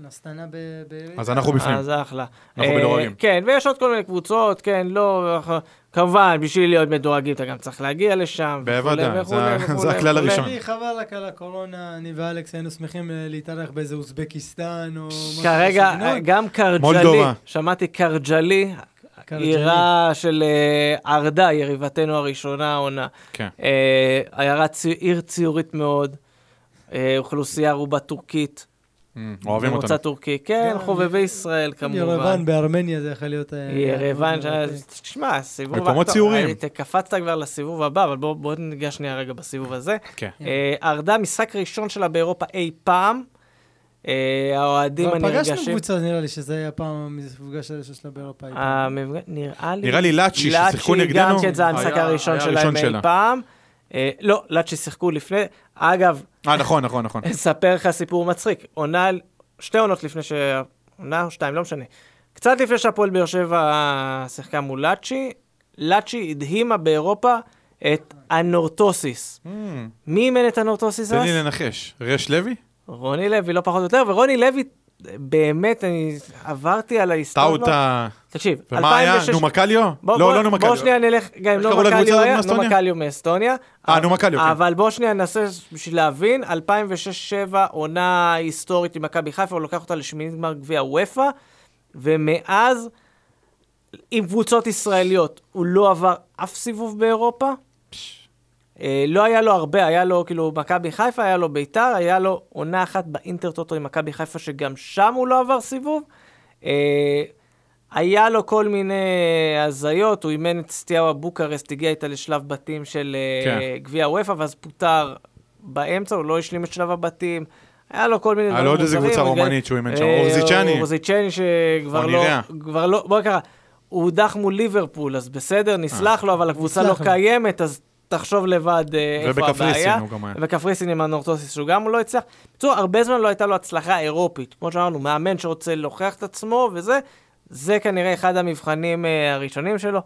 Speaker 3: נסטנה כן, ב- בירידה.
Speaker 2: אז אנחנו בפנים.
Speaker 1: אז אחלה.
Speaker 2: אנחנו
Speaker 1: אה,
Speaker 2: מדורגים.
Speaker 1: כן, ויש עוד כל מיני קבוצות, כן, לא, אנחנו- כמובן, בשביל להיות מדורגים אתה גם צריך להגיע לשם. וכולי,
Speaker 2: בוודאי,
Speaker 1: וכולי,
Speaker 2: זה-
Speaker 1: וכולי,
Speaker 2: זה הכלל
Speaker 1: וכולי.
Speaker 2: הראשון.
Speaker 3: לי חבל רק על הקורונה, אני ואלכס היינו שמחים אה, להתארח באיזה אוזבקיסטן או משהו
Speaker 1: כרגע, אה,
Speaker 3: בסגנון.
Speaker 1: גם קרג'לי,
Speaker 2: מולדובה.
Speaker 1: שמעתי קרג'לי,
Speaker 3: קרג'לי.
Speaker 1: עירה של אה, ארדה, יריבתנו הראשונה העונה.
Speaker 2: כן.
Speaker 1: אה, עיירה, צי- עיר ציורית מאוד, אה, אוכלוסייה רובה טורקית,
Speaker 2: Mm, אוהבים אותנו.
Speaker 1: ממוצא טורקי, כן,
Speaker 3: גם-
Speaker 1: חובבי ישראל כמובן.
Speaker 3: ירוון בארמניה זה יכול להיות... אה,
Speaker 1: ירוון,
Speaker 3: מאוד
Speaker 1: ש-
Speaker 3: מרתק.
Speaker 1: תשמע, סיבוב...
Speaker 2: מקומות
Speaker 1: טוב,
Speaker 2: ציוריים.
Speaker 1: ראית, קפצת כבר לסיבוב הבא, אבל בוא- בוא ניגש שנייה רגע בסיבוב הזה.
Speaker 2: כן.
Speaker 1: אה, ארדה, משחק ראשון שלה באירופה אי פעם. אה, האוהדים
Speaker 3: כבר
Speaker 1: הנרגשים...
Speaker 3: פגשנו קבוצה, נראה לי שזה היה פעם המפגש הזה שיש לה באירופה.
Speaker 1: אה,
Speaker 3: אי פעם.
Speaker 1: המפגש- נראה לי...
Speaker 2: נראה לי לאצ'י ששיחקו
Speaker 1: לאצ'י,
Speaker 2: נגדנו,
Speaker 1: גם כן זה המשחק
Speaker 2: היה-
Speaker 1: הראשון
Speaker 2: היה
Speaker 1: שלהם
Speaker 2: הראשון
Speaker 1: אי
Speaker 2: שלה.
Speaker 1: פעם. אה, לא, לאצ'י שיחקו לפני. אגב,
Speaker 2: אה, נכון, נכון, נכון.
Speaker 1: אספר לך סיפור מצחיק. עונה, שתי עונות לפני ש... עונה או שתיים, לא משנה. קצת לפני שהפועל באר שבע שיחקה מול לאצ'י, לאצ'י הדהימה באירופה את הנורטוסיס.
Speaker 2: אמ,
Speaker 1: מי אימן את הנורטוסיס
Speaker 2: תן
Speaker 1: אז?
Speaker 2: לי לנחש. רש לוי?
Speaker 1: רוני לוי, לא פחות או יותר, ורוני לוי, באמת, אני עברתי על ההיסטוריה.
Speaker 2: טאוטה.
Speaker 1: תקשיב,
Speaker 2: ומה היה?
Speaker 1: 2006
Speaker 2: נומקליו?
Speaker 1: לא. בוא-
Speaker 2: לא,
Speaker 1: בוא-
Speaker 2: לא נומקליו.
Speaker 1: בוא שנייה נלך, גם אם
Speaker 2: איך
Speaker 1: לא
Speaker 2: קראו לקבוצה
Speaker 1: מקליו
Speaker 2: הזאת
Speaker 1: היה, לא
Speaker 2: מאסטוניה?
Speaker 1: מקליו מאסטוניה.
Speaker 2: אה, נומקליו, כן.
Speaker 1: אבל בוא שנייה ננסה בשביל להבין, 2006-2007 עונה היסטורית עם מכבי חיפה, הוא לוקח אותה לשמינית גמר גביע וופא, ומאז, עם קבוצות ישראליות, הוא לא עבר אף סיבוב באירופה. אה, לא היה לו הרבה, היה לו כאילו מכבי חיפה, היה לו ביתר, היה לו עונה אחת באינטר טוטו עם מכבי חיפה, שגם שם הוא לא עבר סיבוב. אה, היה לו כל מיני הזיות, הוא אימן את סטיאבה בוקרסט, הגיע איתה לשלב בתים של כן.
Speaker 2: כן.
Speaker 1: גביע וופא, ואז פוטר באמצע, הוא לא השלים את שלב הבתים. היה לו כל מיני
Speaker 2: היה לו עוד איזה
Speaker 1: מוזרים,
Speaker 2: קבוצה
Speaker 1: הוא התגלה-
Speaker 2: רומנית שהוא אימן שם,
Speaker 1: אה,
Speaker 2: אורזיצ'אני.
Speaker 1: אורזיצ'ני שכבר
Speaker 2: או
Speaker 1: לא,
Speaker 2: נראה.
Speaker 1: כבר לא, בוא נקרא, הוא הודח מול ליברפול, אז בסדר, נסלח
Speaker 2: אה.
Speaker 1: לו, אבל הקבוצה לא
Speaker 4: נסלח לו.
Speaker 1: קיימת, אז תחשוב לבד אה, איפה הבעיה.
Speaker 2: ובקפריסין הוא גם היה.
Speaker 1: וקפריסין עם הנורטוסיס, שהוא גם לא הצליח. בקיצור, הרבה זמן לא הייתה לו הצלחה אירופית. כמו שאמרנו, מאמן שרוצה להוכיח את עצמו וזה, זה כנראה אחד המבחנים אה, הראשונים שלו.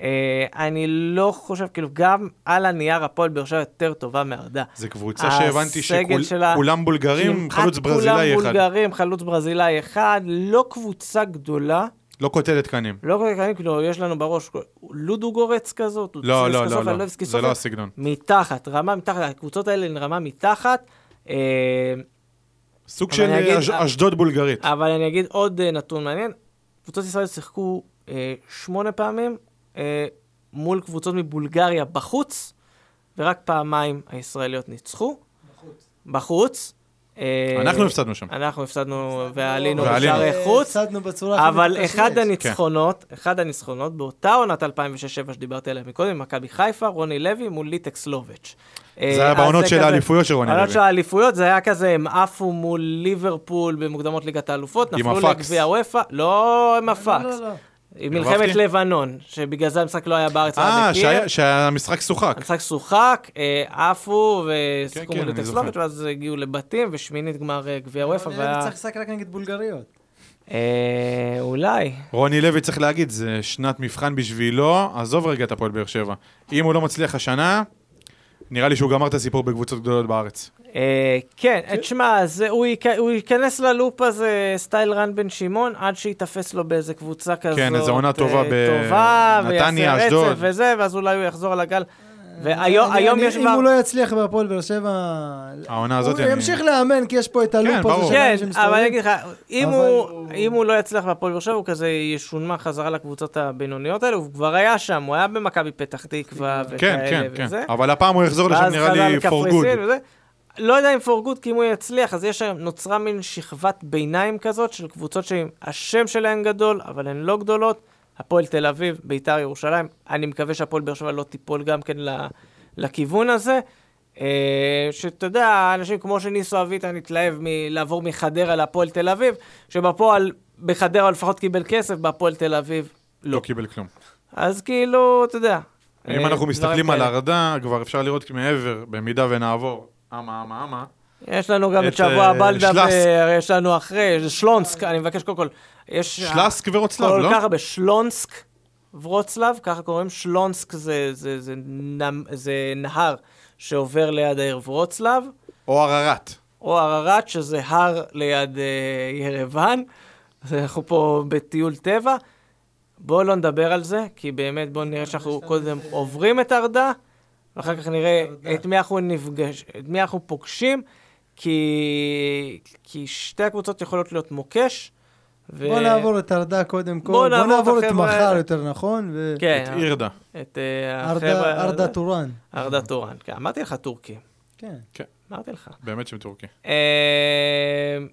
Speaker 1: אה, אני לא חושב, כאילו, גם על הנייר הפועל באר שבע יותר טובה מהרדה.
Speaker 2: זה קבוצה שהבנתי
Speaker 1: הסגל שלה-
Speaker 2: שכולם בולגרים,
Speaker 1: כמעט
Speaker 2: חלוץ ברזילאי
Speaker 1: כולם
Speaker 2: אחד.
Speaker 1: בולגרים, חלוץ ברזילאי אחד, לא קבוצה גדולה.
Speaker 2: לא קוטל תקנים.
Speaker 1: לא כל כך, אני, כאילו, יש לנו בראש לודו גורץ כזאת,
Speaker 2: לא, לא,
Speaker 1: לודוצינסקי סופר,
Speaker 2: לא, לא.
Speaker 1: לובסקי
Speaker 2: זה
Speaker 1: סופר,
Speaker 2: לא הסגנון.
Speaker 1: מתחת, רמה מתחת, הקבוצות האלה הן רמה מתחת. אה,
Speaker 2: סוג
Speaker 1: אבל
Speaker 2: של
Speaker 1: אני אגיד-
Speaker 2: אה, אש- אשדוד בולגרית.
Speaker 1: אבל אני אגיד עוד אה, נתון מעניין, קבוצות ישראל שיחקו אה, שמונה פעמים אה, מול קבוצות מבולגריה בחוץ, ורק פעמיים הישראליות ניצחו. בחוץ. אה,
Speaker 2: אנחנו הפסדנו שם.
Speaker 1: אנחנו הפסדנו ועלינו
Speaker 2: ועלינו.
Speaker 1: בשערי חוץ.
Speaker 3: אה, הפסדנו
Speaker 2: לא,
Speaker 3: בצורה הכי
Speaker 1: אבל
Speaker 3: בוטה
Speaker 1: אחד
Speaker 2: כן.
Speaker 3: שיש.
Speaker 1: הניצחונות, אחד הניצחונות באותה עונת 2006-2007 שדיברתי עליה מקודם, מכבי חיפה, רוני לוי מול אה, ליטקס לובץ'.
Speaker 2: זה היה בעונות של האליפויות של רוני
Speaker 1: העונות
Speaker 2: לוי.
Speaker 1: של האליפויות, זה היה כזה, הם עפו מול ליברפול במוקדמות ליגת האלופות,
Speaker 2: עם
Speaker 1: נפלו
Speaker 2: הפקס.
Speaker 1: לגביע וופא, לא עם
Speaker 3: לא,
Speaker 1: הפקס,
Speaker 3: לא, לא.
Speaker 1: עם
Speaker 2: הרווחתי?
Speaker 1: מלחמת לבנון, שבגלל זה המשחק לא היה בארץ, היה
Speaker 2: אה,
Speaker 1: בקייב.
Speaker 2: שהיה- שהמשחק שוחק.
Speaker 1: המשחק שוחק, אה, עפו ושיחקו
Speaker 2: כן,
Speaker 1: מול
Speaker 2: אני
Speaker 1: ליטקס
Speaker 2: זוכר.
Speaker 1: לובץ', ואז הגיעו לבתים, ושמינית גמר אה, גביע וופא,
Speaker 3: אבל
Speaker 1: והיה...
Speaker 3: צריך לשחק רק נגד בולגריות.
Speaker 1: אה, אולי,
Speaker 2: רוני לוי, צריך להגיד, זה שנת מבחן בשבילו. עזוב רגע את הפועל באר שבע. אם הוא לא מצליח השנה, נראה לי שהוא גמר את הסיפור בקבוצות גדולות בארץ.
Speaker 1: אה, כן, תשמע, זה- הוא ייכ- הוא ייכנס ללופ הזה, סטייל רן בן שמעון, עד שייתפס לו באיזה קבוצה כזאת.
Speaker 2: כן, איזה עונה
Speaker 1: אה,
Speaker 2: טובה ב-
Speaker 1: טובה,
Speaker 2: נתניה,
Speaker 1: ויעשה
Speaker 2: אשדוד.
Speaker 1: רצף וזה, ואז אולי הוא יחזור על הגל. והיום
Speaker 3: אני-
Speaker 1: אה, היום
Speaker 3: אני-
Speaker 1: יש
Speaker 3: אם
Speaker 1: כבר...
Speaker 3: הוא לא יצליח בהפועל באר שבע...
Speaker 2: העונה הזאת...
Speaker 3: הוא
Speaker 2: אני-
Speaker 3: ימשיך לאמן, כי יש פה את
Speaker 2: כן,
Speaker 3: הלופ הזה
Speaker 2: ברור.
Speaker 3: של
Speaker 1: כן,
Speaker 3: אנשים
Speaker 1: אבל אני
Speaker 3: שמסתובבים.
Speaker 1: אגיד לך, אם
Speaker 3: אבל
Speaker 1: הוא-
Speaker 3: הוא-
Speaker 1: אם הוא לא יצליח בהפועל באר שבע, הוא כזה ישונמך חזרה לקבוצות הבינוניות האלה, הוא כבר היה שם, הוא היה במכבי פתח תקווה
Speaker 2: כן,
Speaker 1: וכאלה
Speaker 2: כן,
Speaker 1: וזה.
Speaker 2: כן. אבל הפעם הוא יחזור לשם,
Speaker 1: ואז
Speaker 2: נראה
Speaker 1: חזר
Speaker 2: לי, for good.
Speaker 1: לקפריסין וזה. לא יודע אם for good, כי אם הוא יצליח, אז יש, נוצרה מין שכבת ביניים כזאת של קבוצות שהשם שלהן גדול, אבל הן לא גדולות. הפועל תל אביב, ביתר ירושלים. אני מקווה שהפועל באר שבע לא תיפול גם כן ל- לכיוון הזה. אה, שאתה יודע, אנשים כמו שניסו אביטן התלהב מלעבור מחדרה להפועל תל אביב, שבפועל, בחדרה הוא לפחות קיבל כסף, בהפועל תל אביב
Speaker 2: לא
Speaker 1: לא.
Speaker 2: קיבל כלום.
Speaker 1: אז כאילו, אתה יודע.
Speaker 2: אם
Speaker 1: אה,
Speaker 2: אנחנו
Speaker 1: דברים
Speaker 2: מסתכלים על
Speaker 1: כאלה.
Speaker 2: הרדה, כבר אפשר לראות מעבר, במידה ונעבור. אמה, אמה, אמה.
Speaker 1: יש לנו גם את
Speaker 2: את,
Speaker 1: שבוע
Speaker 2: אה,
Speaker 1: הבא לדבר,
Speaker 2: שלנסק.
Speaker 1: יש לנו אחרי, שלונסק, אני מבקש קודם כל. יש
Speaker 2: שלסק ורוצלב,
Speaker 1: כל
Speaker 2: לא?
Speaker 1: כך הרבה, שלונסק, ורוצלב, ככה קוראים, שלונסק זה, זה, זה, נמ- זה נהר שעובר ליד העיר ורוצלב,
Speaker 2: או הררת.
Speaker 1: או הררת, שזה הר ליד אה, ירבן, אז אנחנו פה בטיול טבע. בואו לא נדבר על זה, כי באמת בואו נראה שאנחנו קודם עוברים את הרדה, ואחר כך נראה את מי אנחנו נפגש, את מי אנחנו פוגשים, כי, כי שתי הקבוצות יכולות להיות מוקש. ו...
Speaker 3: בוא נעבור את הרדה קודם כל.
Speaker 1: בוא
Speaker 3: בוא
Speaker 1: נעבור את
Speaker 3: נעבור את
Speaker 1: החבר'ה
Speaker 3: מחר,
Speaker 1: האלה.
Speaker 3: יותר נכון. ו-
Speaker 1: כן,
Speaker 2: את אירדה.
Speaker 1: את אה,
Speaker 3: ארדה
Speaker 1: החבר'ה...
Speaker 3: ארדה טורן.
Speaker 1: ארדה טורן, כן. אמרתי לך טורקים,
Speaker 3: כן.
Speaker 1: אמרתי לך.
Speaker 2: באמת שם טורקי.
Speaker 1: אה,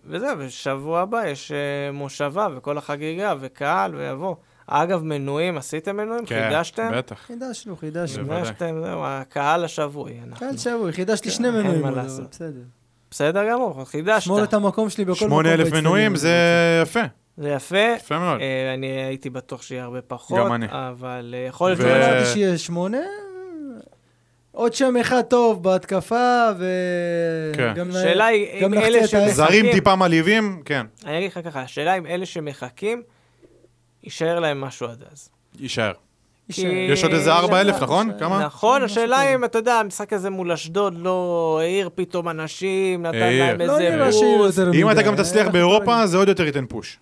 Speaker 1: וזהו, ושבוע הבא יש אה, מושבה וכל החגיגה וקהל ויבוא. אגב, מנויים, עשיתם מנויים?
Speaker 2: כן,
Speaker 1: חידשתם?
Speaker 2: בטח.
Speaker 3: חידשנו, חידשנו.
Speaker 2: בוודאי.
Speaker 1: חידשתם, זהו, הקהל השבועי. אנחנו.
Speaker 3: כן, שבוי, חידשתי שני
Speaker 1: אין
Speaker 3: מנויים.
Speaker 1: מה
Speaker 3: אבל
Speaker 1: לעשות.
Speaker 3: בסדר.
Speaker 1: בסדר גמור, חידשת.
Speaker 3: שמור את המקום שלי בכל מקום.
Speaker 2: 8,000
Speaker 3: באצטדיון.
Speaker 2: מנויים זה יפה,
Speaker 1: זה יפה.
Speaker 2: יפה מאוד.
Speaker 1: אה, אני הייתי בטוח שיהיה הרבה פחות,
Speaker 2: גם אני.
Speaker 1: אבל אה, יכול להיות...
Speaker 2: ו-
Speaker 3: לא
Speaker 1: ו...
Speaker 3: ידעתי שיהיה שמונה. עוד שם אחד טוב בהתקפה,
Speaker 2: כן.
Speaker 3: וגם...
Speaker 1: השאלה היא,
Speaker 3: גם
Speaker 1: אם
Speaker 3: נחטיא
Speaker 1: אלה
Speaker 3: את ה-
Speaker 1: שמחכים...
Speaker 2: זרים טיפה מלהיבים, כן,
Speaker 1: אני אגיד לך ככה, השאלה אם אלה שמחכים, יישאר להם משהו עד אז.
Speaker 2: יישאר.
Speaker 1: כי-
Speaker 2: יש עוד איזה 4,000, נכון?
Speaker 3: ש-
Speaker 2: כמה?
Speaker 1: אה, נכון,
Speaker 3: משהו
Speaker 1: השאלה
Speaker 3: כזה.
Speaker 1: אם, אתה יודע, המשחק הזה מול אשדוד לא העיר פתאום אנשים, נתן
Speaker 2: העיר.
Speaker 1: להם
Speaker 3: לא
Speaker 1: איזה
Speaker 3: נראה שיהיו
Speaker 1: בוז.
Speaker 3: יותר מדי.
Speaker 2: אם אתה גם תצליח
Speaker 3: אה,
Speaker 2: באירופה, זה עוד יותר ייתן פוש.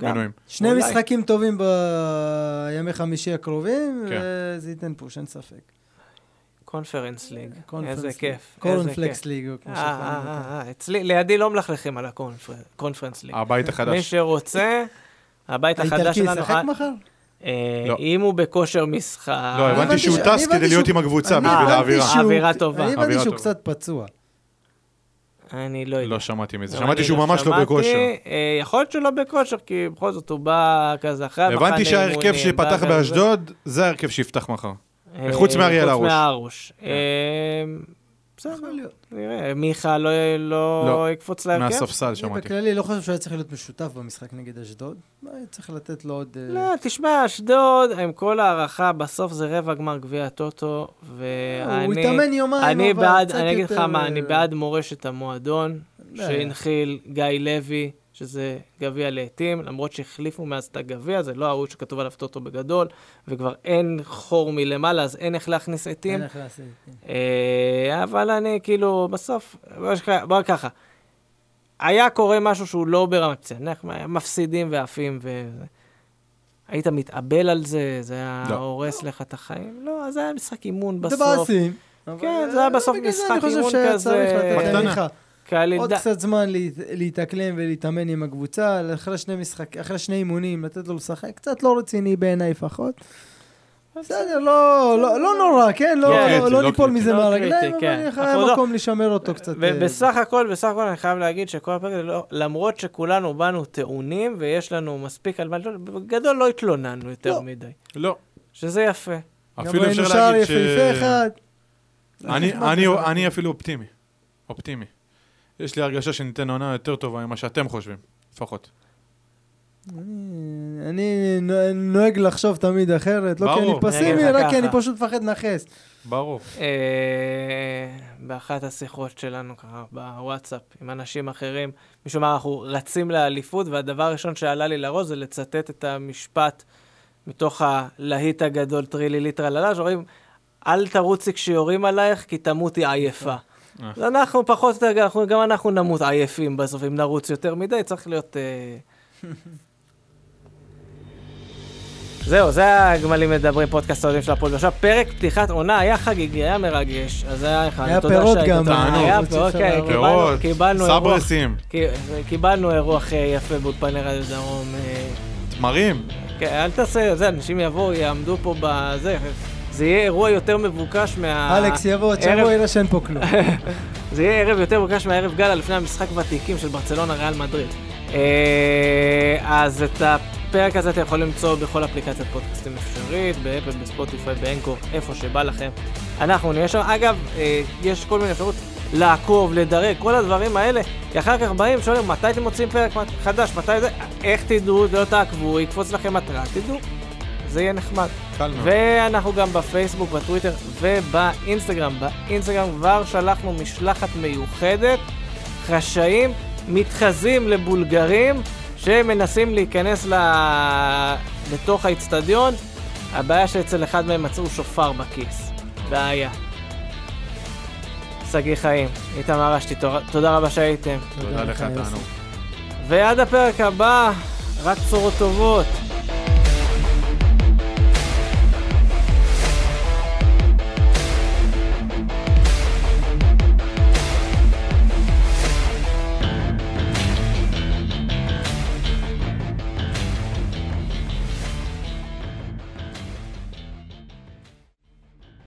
Speaker 1: גם.
Speaker 2: מנויים.
Speaker 3: שני
Speaker 1: אולי.
Speaker 3: משחקים טובים בימי חמישי הקרובים,
Speaker 2: כן.
Speaker 3: וזה ייתן פוש, אין ספק.
Speaker 1: קונפרנס ליג,
Speaker 3: אה, קונפרנס
Speaker 1: איזה
Speaker 3: ליג.
Speaker 1: כיף. איזה
Speaker 3: קורנפלקס
Speaker 1: כיף.
Speaker 3: ליג, או כמו
Speaker 1: אה,
Speaker 3: שקוראים
Speaker 1: אה,
Speaker 3: לזה.
Speaker 1: אה, אה, אצלי, לידי לא מלכלכים על הקונפרנס ליג.
Speaker 2: הבית
Speaker 1: מי
Speaker 2: החדש.
Speaker 1: שרוצה, הבית החדש
Speaker 3: האיטלקי
Speaker 1: שלנו...
Speaker 3: ישחק מחר?
Speaker 1: אה,
Speaker 2: לא.
Speaker 1: אם הוא בכושר משחק...
Speaker 2: לא, הבנתי שהוא
Speaker 3: ש- אני
Speaker 2: טס
Speaker 3: הבנתי
Speaker 2: כדי להיות
Speaker 3: שהוא-
Speaker 2: עם הקבוצה,
Speaker 3: אני
Speaker 2: בשביל
Speaker 1: הבנתי
Speaker 2: האווירה.
Speaker 3: שהוא-
Speaker 1: האווירה טובה.
Speaker 3: אני
Speaker 2: האווירה
Speaker 3: הבנתי שהוא
Speaker 2: טובה.
Speaker 3: קצת פצוע.
Speaker 1: אני לא יודע.
Speaker 2: לא שמעתי מזה.
Speaker 1: אני
Speaker 2: שמעתי שהוא ממש לא
Speaker 1: שמעתי,
Speaker 2: בכושר.
Speaker 1: אה, יכול להיות שהוא לא בכושר, כי בכל זאת הוא בא כזה אחרי המחנה
Speaker 2: הבנתי שההרכב
Speaker 1: אימונים, בא
Speaker 2: שפתח
Speaker 1: כזה.
Speaker 2: באשדוד, זה ההרכב שיפתח מחר.
Speaker 1: אה,
Speaker 2: חוץ מאריאל
Speaker 1: חוץ
Speaker 2: הרוש. כן.
Speaker 1: מהרוש. אה, בסדר,
Speaker 3: יכול להיות.
Speaker 1: נראה. מיכה לא- לא
Speaker 2: לא.
Speaker 1: יקפוץ להרכב?
Speaker 2: מהספסל
Speaker 3: אני
Speaker 2: שמעתי.
Speaker 3: בכללי לא חושב שהוא היה צריך להיות משותף במשחק נגד אשדוד. מה, היה צריך לתת לו עוד... אה,
Speaker 1: לא, תשמע, אשדוד, עם כל הערכה, בסוף זה רבע גמר גביע הטוטו, ואני...
Speaker 3: הוא התאמן יומיים,
Speaker 1: אני
Speaker 3: אבל
Speaker 1: בעד,
Speaker 3: קצת
Speaker 1: אני אגיד לך
Speaker 3: יותר,
Speaker 1: מה,
Speaker 3: אה,
Speaker 1: אני בעד מורשת המועדון,
Speaker 3: לא.
Speaker 1: שהנחיל גיא לוי, שזה גביע לעתים, למרות שהחליפו מאז את הגביע, זה לא ההוא שכתוב עליו טוטו בגדול, וכבר אין חור מלמעלה, אז אין איך להכניס
Speaker 3: אין
Speaker 1: עתים.
Speaker 3: איך לעשות, כן.
Speaker 1: אה, אבל אני כאילו, בסוף, בוא שכ- בוא ככה, היה קורה משהו שהוא לא ברמת צנח, מפסידים ועפים ו... היית מתאבל על זה, זה היה
Speaker 2: לא.
Speaker 1: הורס לך את החיים? לא, אז זה היה משחק אימון
Speaker 3: זה
Speaker 1: בסוף.
Speaker 3: באסים.
Speaker 1: כן,
Speaker 3: אבל,
Speaker 1: זה היה
Speaker 3: אה,
Speaker 1: בסוף
Speaker 3: בגלל זה
Speaker 1: משחק
Speaker 3: אני חושב
Speaker 1: אימון
Speaker 3: שהיה
Speaker 1: כזה-
Speaker 3: צריך לתת להם
Speaker 2: בקטנה.
Speaker 3: מנוחה.
Speaker 1: קהל
Speaker 3: עוד
Speaker 1: ידע-
Speaker 3: קצת זמן להת- להתאקלם ולהתאמן עם הקבוצה, אחרי שני משחק, אחרי שני אימונים, לתת לו לשחק, קצת לא רציני בעיניי לפחות. בסדר, לא, לא, לא נורא, כן? לא,
Speaker 1: לא
Speaker 3: לא,
Speaker 2: קריטי, לא
Speaker 3: לא ניפול
Speaker 2: קריטי.
Speaker 3: מזה
Speaker 1: לא
Speaker 3: מהרגליים,
Speaker 1: קריטי,
Speaker 3: אבל
Speaker 1: כן.
Speaker 3: היה
Speaker 1: אנחנו לא-
Speaker 3: מקום לשמר אותו קצת. אה,
Speaker 1: ובסך הכל, בסך הכל אני חייב להגיד שכל הפרק הזה, לא- למרות שכולנו באנו טעונים ויש לנו מספיק על מה להתלונן, בגדול לא התלוננו יותר
Speaker 3: לא.
Speaker 1: מדי,
Speaker 2: לא.
Speaker 1: שזה יפה.
Speaker 3: גם
Speaker 2: אפילו
Speaker 3: ראינו
Speaker 2: אפשר
Speaker 3: אה, שער
Speaker 2: להגיד ש...
Speaker 3: יפהפה אחד. אה,
Speaker 2: אני-
Speaker 3: נחמד
Speaker 2: אני-
Speaker 3: מאוד.
Speaker 2: אני אפילו אופטימי. אופטימי. יש לי הרגשה שניתן עונה יותר טובה ממה שאתם חושבים, לפחות.
Speaker 3: אני- אני נוהג לחשוב תמיד אחרת, לא כי
Speaker 2: ברור.
Speaker 3: אני פסימי,
Speaker 1: רגע,
Speaker 3: רק כי
Speaker 1: ככה.
Speaker 3: אני פשוט מפחד לנכס.
Speaker 2: ברור.
Speaker 1: אה, באחת השיחות שלנו ככה בוואטסאפ עם אנשים אחרים, מישהו אמר, אנחנו רצים לאליפות, והדבר הראשון שעלה לי לראש זה לצטט את המשפט מתוך הלהיט הגדול טרילי ליטרה ללה, שאומרים, אל תרוצי כשיורים עלייך, כי תמותי עייפה.
Speaker 2: אה.
Speaker 1: אז אנחנו פחות, או יותר, אנחנו- גם אנחנו נמות עייפים בסוף, אם נרוץ יותר מדי, צריך להיות... אה, זהו, זה הגמלים מדברים, פודקאסט האוהדים של הפועל באר שבע. פרק פתיחת עונה היה חגיגי, היה מרגש, אז היה לך,
Speaker 3: היה
Speaker 1: תודה
Speaker 3: פירות
Speaker 1: שהיית
Speaker 3: גם,
Speaker 1: איתנו.
Speaker 2: תענוג.
Speaker 1: היה
Speaker 3: רוצים
Speaker 1: פירות, כן,
Speaker 3: פירות.
Speaker 1: קיבלנו-
Speaker 2: פירות,
Speaker 1: קיבלנו אירוח,
Speaker 2: סברסים,
Speaker 1: קי- קיבלנו אירוח אה, יפה באולפני רדיו דרום. אה,
Speaker 2: תמרים.
Speaker 1: כן, אל תעשה, זה, אנשים יבואו, יעמדו פה בזה, זה יהיה אירוע יותר מבוקש מה...
Speaker 3: אלכס יבוא עוד
Speaker 1: אה, ערב-
Speaker 3: שבוע, יראה שאין פה כלום.
Speaker 1: זה יהיה ערב יותר מורגש מהערב גאלה לפני המשחק ותיקים של ברצלונה ריאל מדריד. אה, אז את הפרק הזה אתם יכולים למצוא בכל אפליקציית פודקאסטים אפשרית, באפל, בספוטיפיי, באנקור, איפה שבא לכם. אנחנו נהיה שם. אגב, אה, יש כל מיני אפשרות לעקוב, לדרג, כל הדברים האלה. כי אחר כך באים, שואלים, מתי אתם מוצאים פרק חדש, מתי זה, איך תדעו, לא תעקבו, יקפוץ לכם התראה, תדעו. זה יהיה נחמד.
Speaker 2: קל מאוד.
Speaker 1: ואנחנו גם בפייסבוק, בטוויטר ובאינסטגרם. באינסטגרם כבר שלחנו משלחת מיוחדת, חשאים, מתחזים לבולגרים שמנסים להיכנס ל... לתוך האיצטדיון. הבעיה שאצל אחד מהם מצאו שופר בכיס. בעיה. שגיא חיים, איתמר אשתי, תודה- תודה רבה שהייתם.
Speaker 2: תודה לך,
Speaker 3: יוסי.
Speaker 2: תענוג.
Speaker 1: ועד הפרק הבא, רק צורות טובות.